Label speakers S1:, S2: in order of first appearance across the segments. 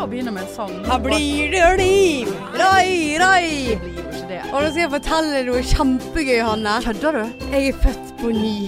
S1: sang.
S2: Her blir det liv! Rai, rai!
S1: Det gjorde ikke det.
S2: Og nå skal jeg fortelle noe kjempegøy, Hanne.
S1: Kødder du?
S2: Jeg er født på ny.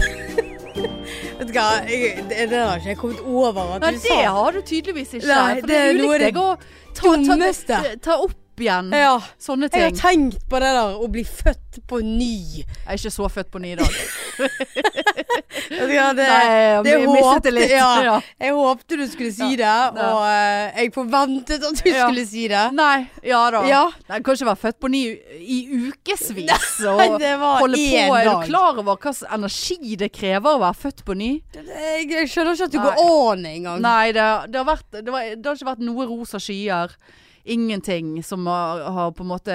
S2: Vet du hva, jeg, det, det har ikke jeg kommet over at
S1: Nei,
S2: du
S1: det
S2: sa.
S1: har du tydeligvis ikke.
S2: Nei,
S1: for
S2: det
S1: det
S2: er
S1: er
S2: noe av
S1: ulikt
S2: det
S1: deg å ta, ta, ta,
S2: dummeste.
S1: ta opp igjen
S2: Ja.
S1: sånne
S2: Jeg har
S1: ting.
S2: tenkt på det der å bli født på ny.
S1: Jeg er ikke så født på ny i dag.
S2: Vet du hva, det,
S1: Nei,
S2: det
S1: jeg mistet
S2: håpte-
S1: det litt.
S2: ja.
S1: Ja.
S2: Jeg håpte du skulle si det,
S1: ja.
S2: og eh, jeg forventet at du
S1: Ja.
S2: skulle si det.
S1: Nei, ja da.
S2: Ja.
S1: Nei, kan ikke være født på ny i ukevis og
S2: Nei, det var
S1: holde på.
S2: én
S1: Er du
S2: dag.
S1: klar over hva slags energi det krever å være født på ny?
S2: Jeg, jeg skjønner ikke at du
S1: Nei.
S2: går an engang.
S1: Nei, det, det, har vært, det, var, det har ikke vært noe rosa skyer. Ingenting som har, har på en måte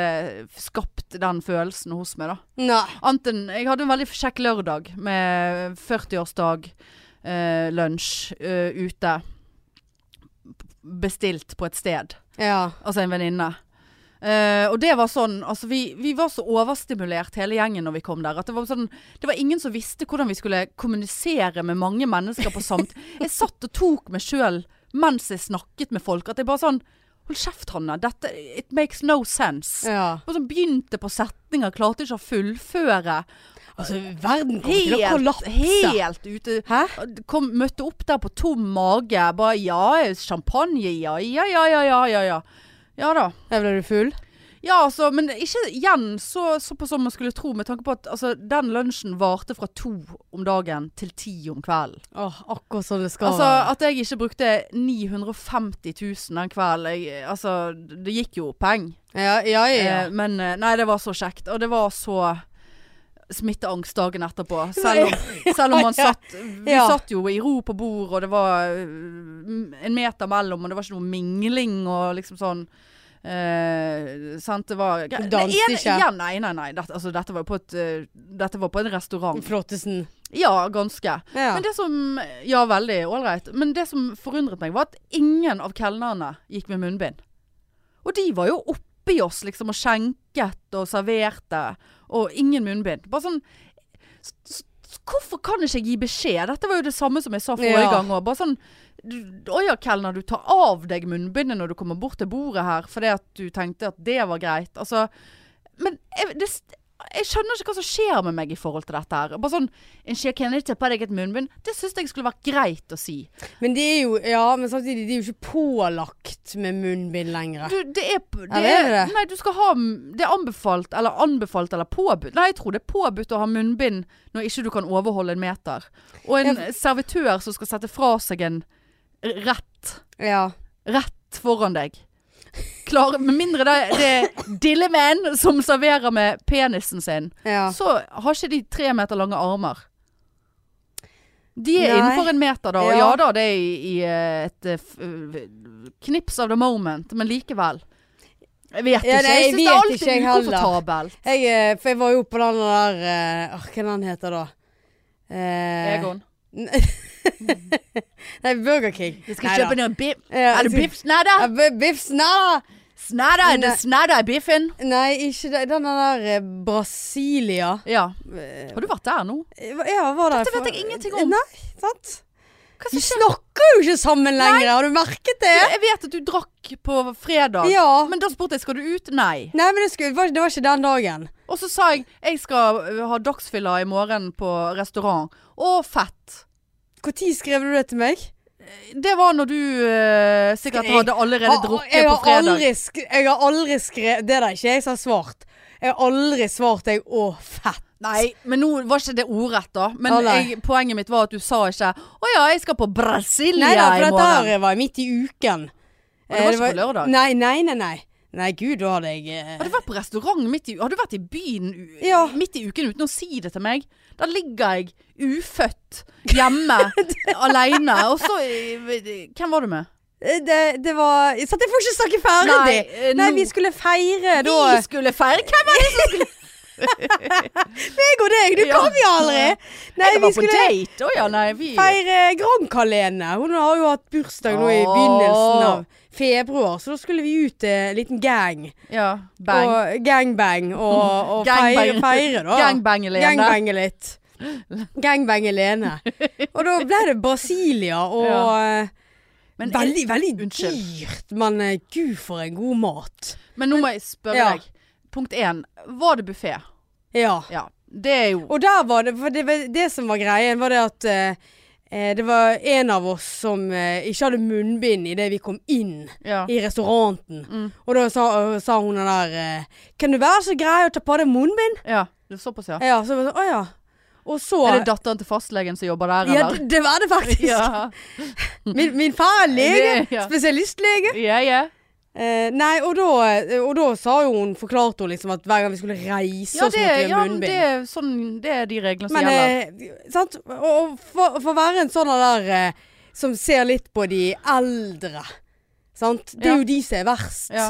S1: skapt den følelsen hos meg, da.
S2: Nei.
S1: Annet enn Jeg hadde en veldig kjekk lørdag med 40-årsdag, eh, lunsj eh, ute. Bestilt på et sted.
S2: Ja.
S1: Altså en venninne. Eh, og det var sånn Altså vi, vi var så overstimulert hele gjengen når vi kom der. At det var sånn Det var ingen som visste hvordan vi skulle kommunisere med mange mennesker på samt Jeg satt og tok meg sjøl mens jeg snakket med folk. At jeg bare sånn Hold kjeft, Hanne. Dette It makes no sense.
S2: ja.
S1: Og sånn begynte på setninger, klarte ikke å fullføre.
S2: Altså, verden kommer til å
S1: Helt,
S2: kollapse.
S1: helt ute.
S2: Hæ?
S1: Kom, møtte opp der på tom mage. Bare ja, champagne, ja, ja, ja, ja, ja. Ja, ja. ja da.
S2: Der ble du full?
S1: Ja, altså, men ikke igjen så, såpass som man skulle tro, med tanke på at altså, den lunsjen varte fra to om dagen til ti om kvelden.
S2: Åh, akkurat som det skal.
S1: Altså, at jeg ikke brukte 950 000 den kvelden, jeg, altså, det gikk jo peng.
S2: ja, ja, ja. ja.
S1: Eh, men eh, nei, det var så kjekt, og det var så smitteangst dagen etterpå. Selv om, selv om man
S2: Ja.
S1: satt Vi
S2: Ja.
S1: satt jo i ro på bord, og det var eh, en meter mellom, og det var ikke noe mingling og liksom sånn. Eh, sant, det var
S2: Du danset
S1: Den ene-
S2: ikke?
S1: Ja, nei, nei, nei. Dette, altså, dette, var jo på et, eh, dette var på en restaurant.
S2: Flottesen.
S1: Ja, ganske.
S2: Ja.
S1: Men det som Ja, veldig ålreit. Men det som forundret meg, var at ingen av kelnerne gikk med munnbind. Og de var jo oppi oss, liksom, og skjenket og serverte, og ingen munnbind. Bare sånn s- s- Hvorfor kan ikke jeg gi beskjed? Dette var jo det samme som jeg sa forrige
S2: Ja.
S1: gang òg. Bare sånn du- Å ja, kelner, du tar av deg munnbindet når du kommer bort til bordet her, fordi at du tenkte at det var greit. Altså men jeg, det, jeg skjønner ikke hva som skjer med meg i forhold til dette her. Bare sånn, en skje kan ikke ta på deg et munnbind. Det syns jeg skulle vært greit å si.
S2: Men det er jo Ja, men samtidig, de er jo ikke pålagt med munnbind lenger.
S1: Du, det er, det
S2: Ja, det er det.
S1: Nei, du skal ha Det er anbefalt, eller anbefalt, eller påbudt. Nei, jeg tror det er påbudt å ha munnbind når ikke du kan overholde en meter. Og en servitør som skal sette fra seg en rett
S2: Ja.
S1: rett foran deg. Klar, med mindre det, det er dillemenn som serverer med penisen sin.
S2: ja.
S1: så har ikke de tre meter lange armer. De er
S2: Nei.
S1: innenfor en meter, da. Og
S2: Ja.
S1: ja da, det er i, i et eh, f- eh, knips of the moment, men likevel. Jeg vet
S2: Ja,
S1: ikke.
S2: nei, jeg
S1: jeg syns det
S2: vet
S1: er
S2: ikke, jeg
S1: alltid
S2: heller.
S1: ukomfortabelt.
S2: Jeg, eh, for jeg var jo på den der eh, Åh, Hva er den heter da? Eh,
S1: Egon.
S2: Nei, Burger King.
S1: Jeg skal
S2: Nei da.
S1: kjøpe noen biff.
S2: Ja,
S1: Er det
S2: jeg skal-
S1: biffsnadder?
S2: Ja, eh, bi- Biff snadda!
S1: Snadder? Er det
S2: Nei.
S1: snadder i biffen?
S2: Nei, ikke det. Den der eh, Brasilia.
S1: Ja.
S2: Eh,
S1: Har du vært der nå?
S2: Ja, var der
S1: Dette vet
S2: for-
S1: jeg ingenting om.
S2: Nei, sant?
S1: Hva
S2: Vi
S1: som skjer?
S2: snakker jo ikke sammen lenger, har du merket det?
S1: Jeg vet at du drakk på fredag.
S2: Ja.
S1: Men da spurte jeg skal du ut. Nei.
S2: Nei, men det, skulle, det var- det var ikke den dagen.
S1: Og så sa jeg jeg skal ø, ha dagsfylla i morgen på restaurant. Å, fett.
S2: Når skrev du det til meg?
S1: Det var når du eh, sikkert
S2: Jeg
S1: hadde allerede
S2: Har-
S1: drukket
S2: jeg
S1: på
S2: har
S1: fredag.
S2: Aldri sk jeg har aldri skrevet Det er da ikke jeg som har svart. Jeg har aldri svart jeg 'å, fett'.
S1: Nei, men nå var ikke det ordrett, da. Men
S2: Å, nei.
S1: jeg, poenget mitt var at du sa ikke 'Å ja, jeg skal på Brasilia
S2: Nei da, for
S1: i
S2: dette
S1: morgen'.
S2: her var midt i uken.
S1: Og det var ikke
S2: Eh,
S1: på lørdag?
S2: Nei, nei, nei. Nei, nei gud, da hadde jeg eh,
S1: Har du vært på restaurant midt i Har du vært i byen u-
S2: Ja.
S1: midt i uken uten å si det til meg? Der ligger jeg ufødt hjemme aleine, og så eh, Hvem var du med?
S2: eh, det, det var Så jeg får ikke snakke ferdig!
S1: Nei, eh,
S2: nei,
S1: nå-
S2: vi skulle feire da
S1: Vi skulle feire Hvem var det som skulle
S2: Jeg og deg, du
S1: Ja.
S2: kom jo aldri! Nei,
S1: Jeg
S2: vi
S1: var på
S2: skulle
S1: date? Å ja, nei, vi
S2: feire Grand-Kalene. Hun har jo hatt bursdag nå i begynnelsen av februar, så da skulle vi ut eh, en liten gang.
S1: Ja. Bang.
S2: Og gangbang. Og, og feire,
S1: Gangbang.
S2: feire, da.
S1: Gangbang, Lene.
S2: Gangbange litt. Gangbange Lene. Og da ble det Brasilia og
S1: Ja. Men,
S2: veldig, veldig
S1: Unnskyld.
S2: dyrt, men eh, gud for en god mat.
S1: men nå må jeg spørre
S2: Ja.
S1: deg. Punkt én. Var det buffé?
S2: Ja.
S1: Ja. Det er jo
S2: Og der var det, for det, var- det som var greien, var det at eh, eh, det var en av oss som eh, ikke hadde munnbind idet vi kom inn
S1: ja.
S2: i restauranten.
S1: Mm.
S2: Og da sa, sa hun den der eh, Kan du være så grei å ta på deg munnbind?
S1: ja. Det er såpass, ja.
S2: Ja, så var det sånn, å ja. Og så
S1: Er det datteren til fastlegen som jobber der,
S2: Ja,
S1: eller?
S2: det, det var det faktisk.
S1: Ja.
S2: Min, min far er lege.
S1: Det- ja.
S2: Spesialistlege.
S1: ja, ja.
S2: Eh, nei, og da, eh, og da sa jo hun, forklarte hun liksom at hver gang vi skulle reise
S1: Ja,
S2: oss
S1: det,
S2: måtte vi
S1: ja
S2: ha
S1: men
S2: munnbind.
S1: det, er sånn, det er de reglene som
S2: Men
S1: gjelder.
S2: eh, sant? Og, og for, for å være en sånn der eh, som ser litt på de eldre, sant? Det
S1: Ja.
S2: er jo de som er verst.
S1: Ja.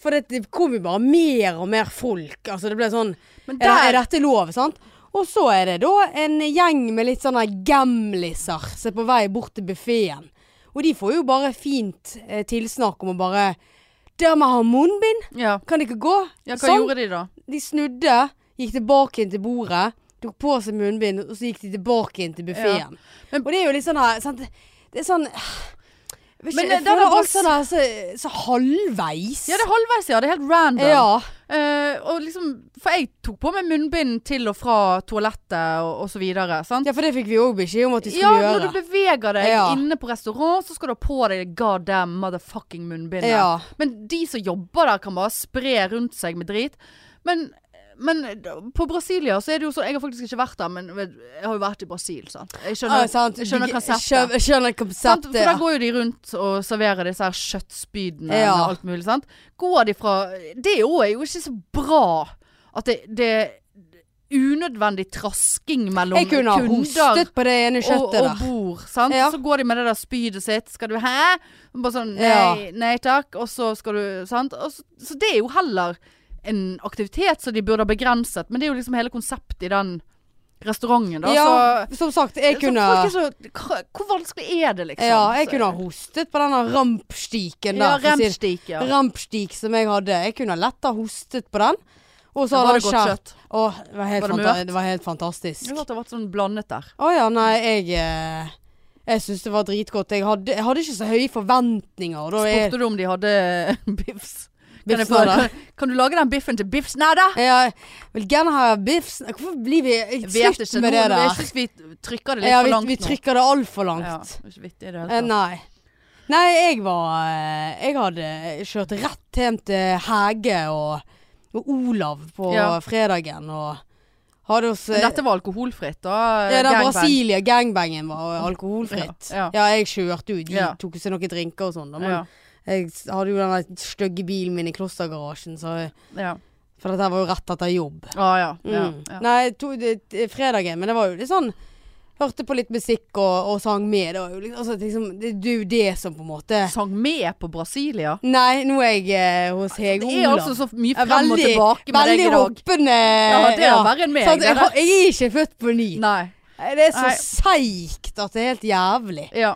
S2: For det, det kom jo bare mer og mer folk. Altså det ble sånn
S1: Men
S2: er,
S1: der
S2: er dette lov, sant? Og så er det da en gjeng med litt sånne gamliser som er på vei bort til buffeen. Og de får jo bare fint eh, tilsnakk om å bare Dere må ha munnbind,
S1: ja.
S2: kan dere gå?
S1: ja, hva
S2: sånn.
S1: gjorde de da?
S2: De snudde, gikk tilbake inn til bordet, tok på seg munnbind, og så gikk de tilbake inn til buffeen.
S1: Men-
S2: og det er jo litt sånn her sant? Det er sånn Vet ikke,
S1: Men,
S2: jeg
S1: da er
S2: føler
S1: det
S2: alt
S1: også-
S2: sånn her så, så halvveis.
S1: Ja, det er halvveis, ja. Det er helt random.
S2: ja.
S1: Eh, og liksom, for jeg tok på meg munnbind til og fra toalettet og, og så videre. Sant?
S2: ja, for det fikk vi òg beskjed om at de
S1: Ja,
S2: skulle
S1: når
S2: gjøre.
S1: du beveger deg
S2: Ja.
S1: inne på restaurant, så skal du ha på deg god damn motherfucking munnbindet.
S2: ja.
S1: Men de som jobber der, kan bare spre rundt seg med drit. Men, men på Brasilia så er det jo sånn Jeg har faktisk ikke vært der, men jeg har jo vært i Brasil, sant. Jeg skjønner,
S2: Ah, sant.
S1: jeg skjønner
S2: Du-
S1: konseptet.
S2: skjø- Skjønner
S1: Sant?
S2: konseptet.
S1: For da
S2: ja.
S1: går jo de rundt og serverer disse her kjøttspydene
S2: Ja.
S1: og alt mulig, sant. Går de fra Det er jo er jo ikke så bra at det, det er unødvendig trasking mellom
S2: Jeg kunne ha
S1: kunder
S2: hostet på det ene
S1: og,
S2: kjøttet
S1: og
S2: der.
S1: bord, sant.
S2: Ja.
S1: Så går de med det der spydet sitt. Skal du hæ? Og Bare sånn nei,
S2: Ja.
S1: nei takk. Og så skal du Sant. Og så, så det er jo heller en aktivitet som de burde ha begrenset, men det er jo liksom hele konseptet i den restauranten, da.
S2: Ja,
S1: Så,
S2: som sagt, jeg
S1: så
S2: kunne
S1: folk er så, hva- Hvor vanskelig er det, liksom?
S2: ja, jeg
S1: Så-
S2: kunne ha hostet på denne rampstiken
S1: Ja,
S2: der. for å si det.
S1: remstik, ja.
S2: Rampstik som jeg hadde. Jeg kunne lett ha hostet på den. Og så
S1: var
S2: hadde
S1: det
S2: jeg
S1: godt
S2: skjært
S1: kjøtt?
S2: Åh, det var
S1: Var
S2: helt,
S1: det
S2: fanta
S1: mørt?
S2: det var helt
S1: Jeg
S2: fantastisk.
S1: hørte det har vært sånn blandet der.
S2: Å ja, nei, jeg eh, Jeg syns det var dritgodt. Jeg hadde, jeg hadde ikke så høye forventninger. Og da er
S1: Spurte du om de hadde biffs? Kan, jeg få,
S2: biffsen der.
S1: kan, kan du lage den biffen til biffs? Nei da!
S2: Jeg vil gjerne ha biffs Hvorfor blir vi
S1: Vet
S2: Slutt
S1: ikke.
S2: med
S1: nå,
S2: det
S1: nå- Jeg
S2: der.
S1: synes vi trykker det litt
S2: Ja,
S1: for
S2: vi,
S1: langt
S2: vi
S1: nå.
S2: trykker det altfor
S1: Ja,
S2: langt.
S1: det er ikke vittig i det
S2: Eh,
S1: hele tatt.
S2: Nei. Nei, jeg var eh, Jeg hadde kjørt rett hjem til Hege og, og Olav på
S1: Ja.
S2: fredagen og hadde oss
S1: Men dette var alkoholfritt, da?
S2: Ja, den
S1: gangbang.
S2: Brasilia gangbangen var alkoholfritt.
S1: Ja,
S2: Ja, jeg kjørte jo. De
S1: Ja.
S2: tok seg noen drinker og sånn. da, Men
S1: Ja,
S2: jeg s- hadde jo den der stygge bilen min i klostergarasjen, så
S1: ja.
S2: For dette her var jo rett etter jobb.
S1: Ah, ja.
S2: Mm.
S1: ja, ja.
S2: Nei, jeg tok det, det- fredagen, men det var jo litt sånn Hørte på litt musikk og, og sang med. Det var jo litt- altså, liksom, det, det er jo det som på en måte
S1: Sang med på Brasilia?
S2: Nei, nå er jeg eh, hos Hege
S1: Det
S2: Olav.
S1: er altså så mye
S2: Jeg er
S1: frem og tilbake med deg
S2: veldig
S1: i dag.
S2: hoppende.
S1: Ja, det er verre enn meg,
S2: Sant,
S1: det der.
S2: jeg, har- jeg er ikke født på ny.
S1: Nei.
S2: Det er så
S1: Nei.
S2: seigt at det er helt jævlig.
S1: Ja.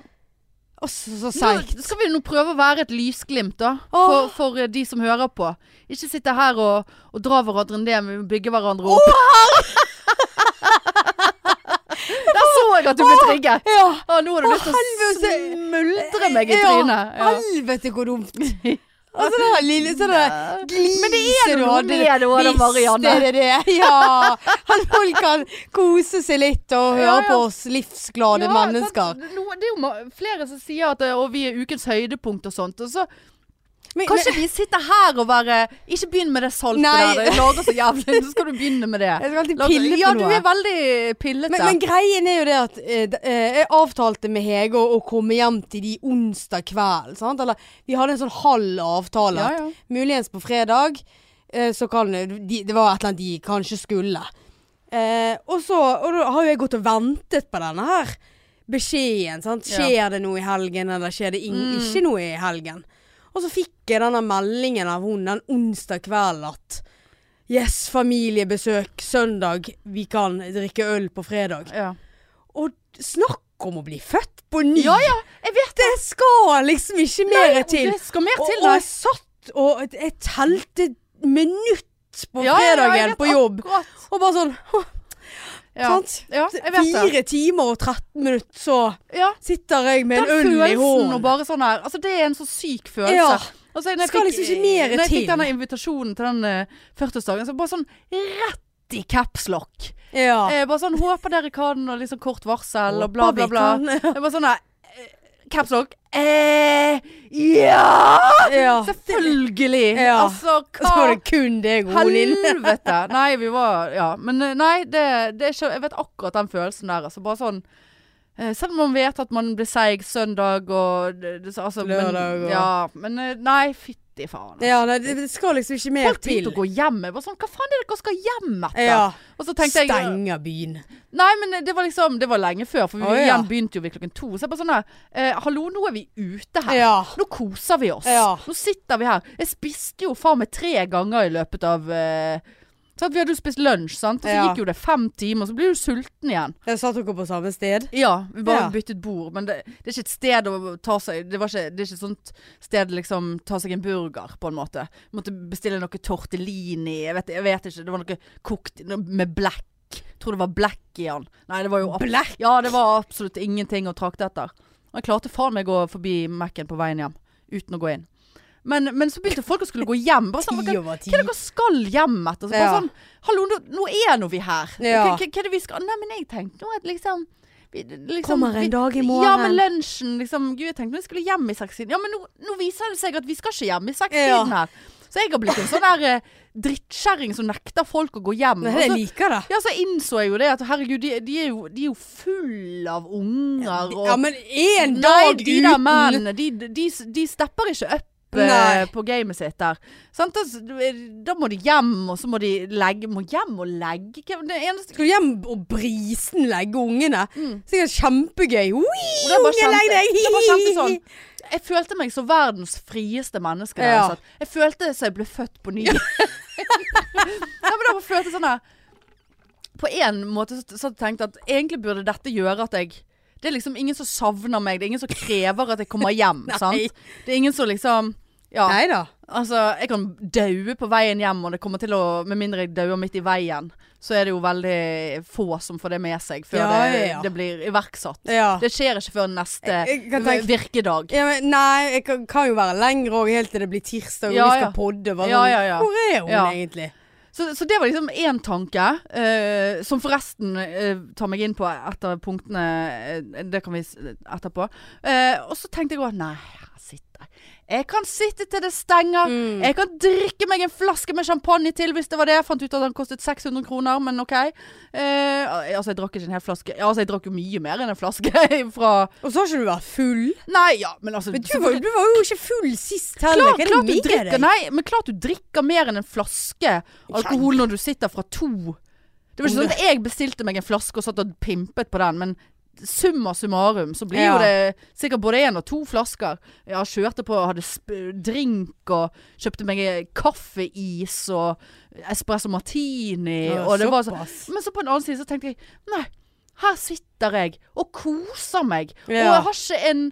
S2: Å, så, så
S1: Nå
S2: seigt.
S1: skal vi nå prøve å være et lysglimt, da. For,
S2: Åh.
S1: for eh, de som hører på. Ikke sitte her og, og dra hverandre ned, vi må bygge hverandre opp. Der så jeg at du ble trigget.
S2: Ja.
S1: Å, nå har du lyst til å
S2: helvete.
S1: smuldre meg i trynet. Ja.
S2: Helvete hvor dumt. Altså det der lille sånne gliset
S1: Men det er
S2: du
S1: noe
S2: hadde.
S1: med det òg, da,
S2: Visst
S1: Marianne.
S2: er det det. Ja. At folk kan kose seg litt og høre
S1: Ja, ja.
S2: på oss livsglade
S1: Ja,
S2: mennesker.
S1: sant. Nå- det er jo ma- flere som sier at eh, og vi er ukens høydepunkt og sånt. Og så
S2: Men-
S1: kanskje vi sitter her og bare Ikke begynn med det saltet
S2: Nei.
S1: der, det lager så jævlig. Så skal du begynne med det.
S2: Jeg skal alltid
S1: Lager-
S2: pille på
S1: ja,
S2: noe.
S1: du er veldig pillete.
S2: Men, men greien er jo det at eh, d- eh, jeg avtalte med Hege å, å komme hjem til de onsdag kveld. Sant? Eller vi hadde en sånn halv avtale.
S1: Ja, ja.
S2: at Muligens på fredag, eh, så kan de, Det var et eller annet de kanskje skulle. Eh, og så og da har jo jeg gått og ventet på denne her beskjeden.
S1: Ja.
S2: Sant?
S1: Mm.
S2: Skjer det noe i helgen, eller skjer det ing- ikke noe i helgen? Og så fikk jeg denne meldingen av hun den onsdag kvelden at Yes, familiebesøk søndag. Vi kan drikke øl på fredag.
S1: ja.
S2: Og snakk om å bli født på ny!
S1: ja ja, jeg vet
S2: Det skal liksom ikke mer til.
S1: det skal mer
S2: Og,
S1: til.
S2: og
S1: nei.
S2: jeg satt og jeg telte minutt på
S1: Ja, ja, ja, jeg
S2: fredagen
S1: vet
S2: på jobb.
S1: akkurat.
S2: Og bare sånn
S1: Ja.
S2: Sant?
S1: ja, jeg vet det.
S2: Fire timer og 13 minutter, så
S1: Ja.
S2: sitter jeg med en
S1: Den
S2: øl i
S1: følelsen og
S2: hånden.
S1: bare sånn her Altså, det er en så syk følelse.
S2: Ja.
S1: Altså, når jeg
S2: Skal
S1: fikk-
S2: liksom ikke mer
S1: Når jeg
S2: til.
S1: fikk denne invitasjonen til den eh, 40-årsdagen, så bare sånn rett i capslock.
S2: ja.
S1: Eh, bare sånn Håper dere kan, og liksom kort varsel, og bla, bla, bla. Det var sånn der Capslock. Eh, ja!
S2: Ja.
S1: Selvfølgelig!
S2: Ja.
S1: Altså,
S2: Så var
S1: hva
S2: det kun deg og Odin.
S1: Helvete! Nei, vi var Ja. Men eh, nei, det, det er ikke Jeg vet akkurat den følelsen der. Altså, bare sånn eh, Selv om man vet at man blir seig søndag og det, det, altså,
S2: Lørdag og-
S1: men, Ja. Men eh, nei, fytti faen. altså.
S2: Ja, nei, det, det skal liksom ikke mer
S1: Folk
S2: til.
S1: begynte å gå hjem. Jeg var sånn Hva faen er det dere skal hjem etter?
S2: Ja.
S1: Og så tenkte jeg
S2: Stenger byen.
S1: Nei, men det var liksom Det var lenge før, for vi
S2: Å, ja.
S1: igjen begynte jo ved klokken to. Så jeg bare sånn her eh, Hallo, nå er vi ute her.
S2: Ja.
S1: Nå koser vi oss.
S2: Ja.
S1: Nå sitter vi her. Jeg spiste jo faen meg tre ganger i løpet av eh, sant? Vi hadde jo spist lunsj, sant. Og så
S2: Ja.
S1: gikk jo det fem timer, så blir du sulten igjen.
S2: Jeg satt dere på samme sted?
S1: Ja. Vi bare
S2: Ja.
S1: byttet bord. Men det, det er ikke et sted å ta seg Det, var ikke, det er ikke et sånt sted liksom ta seg en burger, på en måte. Måtte bestille noe tortellini. Jeg vet, jeg vet ikke. Det var noe kokt noe med black. Tror det var black i den. Nei, det var jo
S2: Black.
S1: ja, det var absolutt ingenting å trakte etter. Og jeg klarte faen meg å gå forbi Mac-en på veien hjem, uten å gå inn. Men, men så begynte folk å skulle gå hjem. Bare sånn,
S2: Ti
S1: hva,
S2: over ti.
S1: hva er det dere skal hjem etter? Så bare
S2: Ja.
S1: sånn, hallo, nå, nå er nå vi her.
S2: Ja.
S1: Hva, hva, hva er det vi skal? Nei, men jeg tenkte nå at liksom... Vi, liksom
S2: Kommer en
S1: vi-
S2: dag i
S1: Ja, men
S2: morgen.
S1: lunsjen, liksom. Gud, jeg tenkte vi skulle hjem i sekstiden. Ja, men nå, nå viser det seg at vi skal ikke hjem i
S2: Ja.
S1: sekstiden her. Så jeg har blitt en sånn der eh, drittkjerring som nekter folk å gå hjem.
S2: Nei,
S1: Og så-
S2: jeg liker det.
S1: ja, så innså jeg jo det. At herregud, de, de, er, jo, de er jo full av unger og
S2: Ja, men én
S1: Nei,
S2: dag
S1: de der
S2: uten
S1: mennene, de, de, de stepper ikke opp eh,
S2: Nei.
S1: på gamet sitt der. Sant? Da, eh, da må de hjem, og så må de legge Må hjem og legge? Hva- Det eneste
S2: Skal du hjem og brisenlegge ungene?
S1: Mm.
S2: Sikkert kjempegøy. Ui,
S1: Og det er bare
S2: unge, legg
S1: kjempe-
S2: deg!
S1: det er bare kjempesodd. Jeg følte meg så verdens frieste menneske. da jeg
S2: Ja.
S1: satt. Jeg følte som jeg ble født på ny. Nei, men da følte jeg sånn her På en måte så så tenkte jeg at egentlig burde dette gjøre at jeg Det er liksom ingen som savner meg. Det er ingen som krever at jeg kommer hjem.
S2: Nei.
S1: sant? Det er ingen som liksom Ja.
S2: Nei da.
S1: Altså, jeg kan daue på veien hjem, og det kommer til å Med mindre jeg dauer midt i veien, så er det jo veldig få som får det med seg før
S2: Ja,
S1: det,
S2: ja, ja.
S1: det blir iverksatt.
S2: Ja.
S1: Det skjer ikke før neste
S2: Jeg- jeg kan tenke-
S1: virkedag.
S2: Ja, men, nei, jeg kan, kan jo være lenger òg, helt til det blir tirsdag og
S1: Ja,
S2: vi skal
S1: ja.
S2: podde. Bare,
S1: Ja,
S2: sånn,
S1: ja, ja.
S2: Hvor er hun
S1: Ja.
S2: egentlig?
S1: Så, så det var liksom én tanke, eh, som forresten eh, tar meg inn på etter punktene eh, Det kan vi s- etterpå. Eh, og så tenkte jeg òg Nei, her sitter jeg. Jeg kan sitte til det stenger.
S2: Mm.
S1: Jeg kan drikke meg en flaske med champagne til hvis det var det. Jeg fant ut at den kostet 600 kroner, men OK. Eh, altså, jeg drakk ikke en hel flaske. Ja, altså, jeg drakk jo mye mer enn en flaske fra
S2: Og så har ikke du vært full.
S1: Nei, ja, men altså
S2: Men du,
S1: selvfølgelig-
S2: var, du var jo ikke full sist heller.
S1: Klart,
S2: Hva er det
S1: klart du
S2: med
S1: drikker
S2: deg?
S1: Nei, men klart du drikker mer enn en flaske alkohol når du sitter fra to. Det var ikke sånn at jeg bestilte meg en flaske og satt og pimpet på den, men summa summarum så blir
S2: Ja.
S1: jo det sikkert både én og to flasker. Jeg kjørte på, hadde sp drink og kjøpte meg eh, kaffeis og espresso martini.
S2: Ja,
S1: og det var så,
S2: såpass.
S1: men så på den annen side så tenkte jeg nei. Her sitter jeg og koser meg, og
S2: Ja.
S1: jeg har ikke en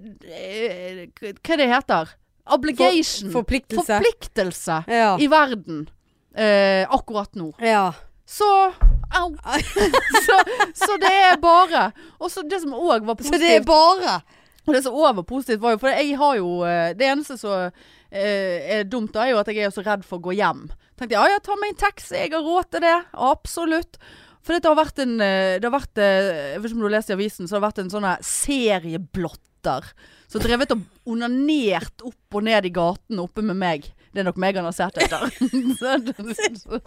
S1: eh, eh, Hva det heter? Obligation.
S2: For- forpliktelse.
S1: Forpliktelse
S2: Ja.
S1: i verden eh, akkurat nå.
S2: ja.
S1: Så Au! så, så det er bare Og så det som òg var
S2: Så det er
S1: positivt
S2: bare
S1: Og det som også var positivt, var jo For jeg har jo eh, Det eneste som eh, er dumt, da, er jo at jeg er så redd for å gå hjem. Tenkte jeg ja, ja, ta meg en taxi, jeg har råd til det. Absolutt. For det har vært en eh, Det har vært eh, Jeg vet ikke om du har lest i avisen, så har det vært en sånn her serieblotter. Som drevet og onanert opp og ned i gaten oppe med meg. Det er nok meg han har sett etter. Så-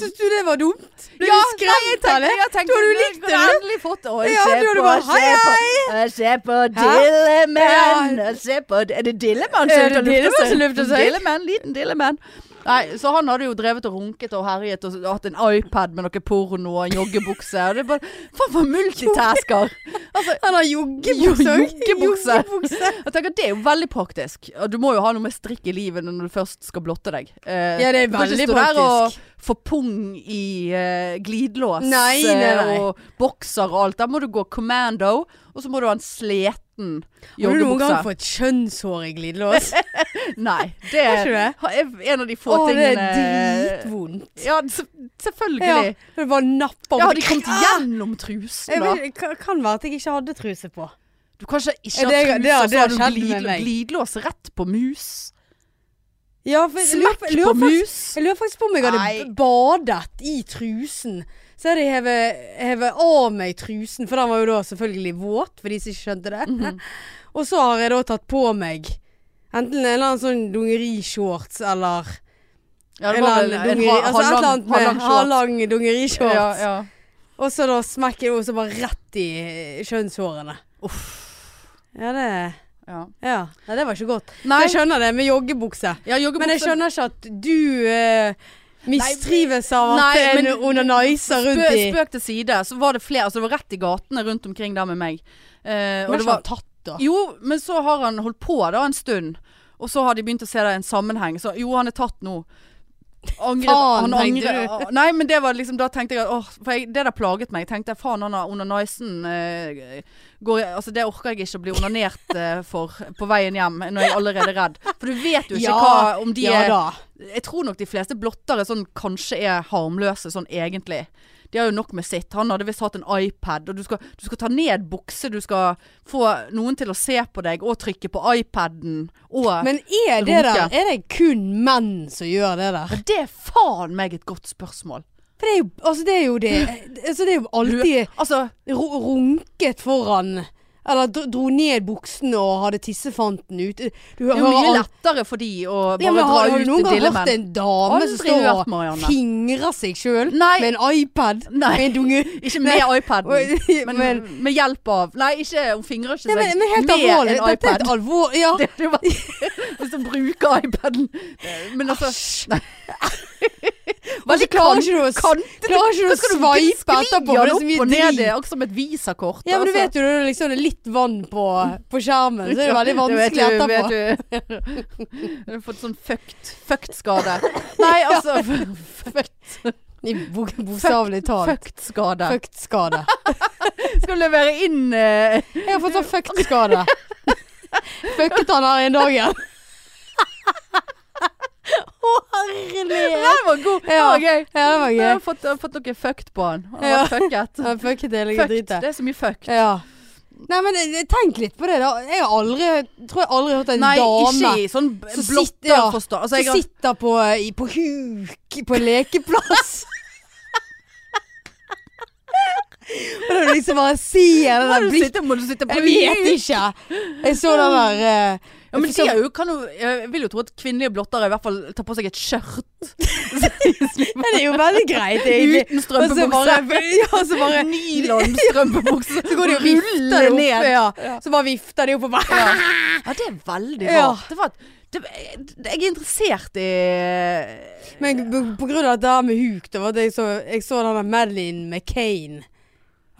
S2: Syns du det var dumt? Ble
S1: Ja,
S2: du skremt av det? Du hadde jo likt det, du.
S1: Endelig fått det. Å,
S2: Ja,
S1: se
S2: du hadde
S1: på,
S2: bare,
S1: se
S2: hei,
S1: på, å, Se på Dillemann. å, Se på Er det Dillemann
S2: Er
S1: som
S2: det
S1: lufter
S2: Dillemann som lufter seg?
S1: Dillemann, liten Dillemann. Nei, så han hadde jo drevet og runket og herjet og hatt en iPad med noe porno og en joggebukse. Og det er bare Faen for multitasker.
S2: Han har altså, joggebukse.
S1: Jo, joggebukse.
S2: Joggebukse.
S1: Jeg tenker Det er jo veldig praktisk. Og Du må jo ha noe med strikk i livet når du først skal blotte deg. Eh,
S2: Ja, det er
S1: du kan ikke
S2: veldig
S1: stå der og
S2: praktisk.
S1: få pung i eh, glidelås
S2: Nei, nei,
S1: eh,
S2: nei.
S1: og bokser og alt. Da må du gå commando, og så må du ha en sleten
S2: Har du noen gang
S1: joggebukse.
S2: fått kjønnshår i glidelås?
S1: Nei. Det
S2: Har
S1: er
S2: ikke du det?
S1: ha- er en av de få eh,
S2: Å, det er
S1: tingene
S2: dritvondt.
S1: Ja, så- Selvfølgelig.
S2: Det var napper
S1: Ja, har de kommet gjennom trusen,
S2: Jeg
S1: da?
S2: vet, ikke, kan- kan være at jeg ikke hadde truse på.
S1: Du kan ikke ikke
S2: Ja,
S1: ha
S2: det-
S1: truse,
S2: det har- det
S1: så
S2: har
S1: har du
S2: skjedd med
S1: glid,
S2: meg.
S1: glidelås rett på mus.
S2: Ja, for jeg lurer-
S1: Smekk
S2: jeg lurer
S1: på
S2: faktisk-
S1: mus.
S2: Jeg lurer faktisk på om jeg
S1: Nei.
S2: hadde b- badet i trusen. Så hadde jeg hevet, hevet av meg trusen, for den var jo da selvfølgelig våt, for de som ikke skjønte det.
S1: Mhm.
S2: Og så har jeg da tatt på meg enten en eller annen sånn dungerishorts eller
S1: Ja,
S2: en eller annen dungeri, altså et eller annet med
S1: halvlang
S2: halvlang dungerishorts.
S1: Ja, ja.
S2: Og så da smekker det, og så bare rett i eh, kjønnshårene. Ja, det
S1: Ja.
S2: Ja. Nei, det var ikke godt.
S1: Nei,
S2: Så jeg skjønner det med joggebukse.
S1: ja, joggebukse-
S2: Men jeg skjønner ikke at du eh, mistrives av at
S1: Nei,
S2: en
S1: men-
S2: onaniser rundt
S1: Spø-
S2: i
S1: Spøk til side, så var det flere. Altså, det var rett i gatene rundt omkring der med meg. Eh, og
S2: Men
S1: det
S2: ikke
S1: var,
S2: han tatt, da?
S1: jo, men så har han holdt på da en stund. Og så har de begynt å se det i en sammenheng. Så jo, han er tatt nå. Angret, han
S2: Faen, tenkte
S1: angret. ah,
S2: du.
S1: Nei, men det var liksom Da tenkte jeg at åh, For jeg, det der plaget meg. Jeg tenkte faen, han har onanisen eh, går, jeg- Altså, det orker jeg ikke å bli onanert eh, for på veien hjem når jeg allerede er redd. For du vet jo ikke hva om de
S2: ja,
S1: er
S2: da.
S1: jeg tror nok de fleste blottere sånn, kanskje er harmløse sånn egentlig. De har jo nok med sitt. Han hadde visst hatt en iPad, og du skal, du skal ta ned bukse, du skal få noen til å se på deg og trykke på iPaden og Men
S2: Men er det
S1: Runke.
S2: der Er det kun menn som gjør det der?
S1: det er faen meg et godt spørsmål.
S2: For det er jo, altså det, er jo det, altså det er jo alltid
S1: Altså,
S2: ru- runket foran Eller dro dro ned buksene og hadde tissefanten ute. Du
S1: det er jo mye
S2: al-
S1: lettere for de å bare
S2: Ja, men
S1: dra
S2: har, har du
S1: ut
S2: noen gang
S1: dille
S2: hørt
S1: menn.
S2: en dame
S1: Aldri
S2: som står
S1: hørt,
S2: og
S1: Marianne.
S2: fingrer seg sjøl
S1: Nei.
S2: med en iPad?
S1: Nei.
S2: Med en dunge...
S1: Ikke med iPaden,
S2: men,
S1: men, med hjelp av Nei, ikke, hun fingrer ikke
S2: Nei,
S1: seg
S2: men, men helt
S1: med
S2: alvorlig.
S1: en
S2: Dette er
S1: iPad.
S2: et alvor... Ja.
S1: Det er jo bare Hvis du bruker iPaden. Men altså Nei.
S2: Var ikke klarer ikke du å s- klarer ikke du å sveipe etterpå? for Det er så mye
S1: opp og ned, Altså.
S2: drit.
S1: det er akkurat som et visakort.
S2: Ja, men du vet jo når det liksom er litt vann på, på skjermen, så er det veldig vanskelig etterpå.
S1: etterpå. Du har fått sånn fucked, fucked skade. Nei, altså Fucked,
S2: I bok- Bokstavelig talt.
S1: fucked skade.
S2: Fucked skade.
S1: Skal du levere inn eh,
S2: Jeg har fått sånn fucked skade. Fucket han her en dag igjen. Å, herlighet.
S1: Den var god! Den
S2: Ja.
S1: var gøy.
S2: Ja, det var
S1: Jeg har
S2: gøy.
S1: fått, jeg har fått noe fucked på han. Han
S2: Ja.
S1: var fucket.
S2: Ja, Fucket hele
S1: Fucked.
S2: dritet.
S1: Det er så mye fucked.
S2: Ja. Nei, men eh, tenk litt på det, da. Jeg har aldri, tror jeg aldri har hørt en
S1: Nei,
S2: dame
S1: ikke i sånn
S2: Så sitter-
S1: blotter
S2: ja.
S1: forstand. Altså,
S2: som
S1: jeg har-
S2: sitter på, i- på huk på en lekeplass. Og da liksom bare ser det
S1: Må
S2: der
S1: du
S2: blikket.
S1: sitte, må du sitte på
S2: Jeg vet ikke. Jeg så den der eh,
S1: Ja, men de
S2: så-
S1: er jo, kan jo, jeg vil jo tro at kvinnelige blottere i hvert fall tar på seg et skjørt. Uten
S2: Men det er jo veldig greit, egentlig. Og så
S1: strømpebukse.
S2: bare, ja, så bare
S1: Nylon strømpebukse.
S2: så går de og
S1: Ruller
S2: vifter det
S1: ned.
S2: opp. Ja. Så bare vifter de opp og bare
S1: Ja, det er veldig
S2: Ja.
S1: rart. Det var, det, jeg er interessert i
S2: Men på, på grunn av det her med huk, da, var det jeg, så, jeg så den der Madeline McCain.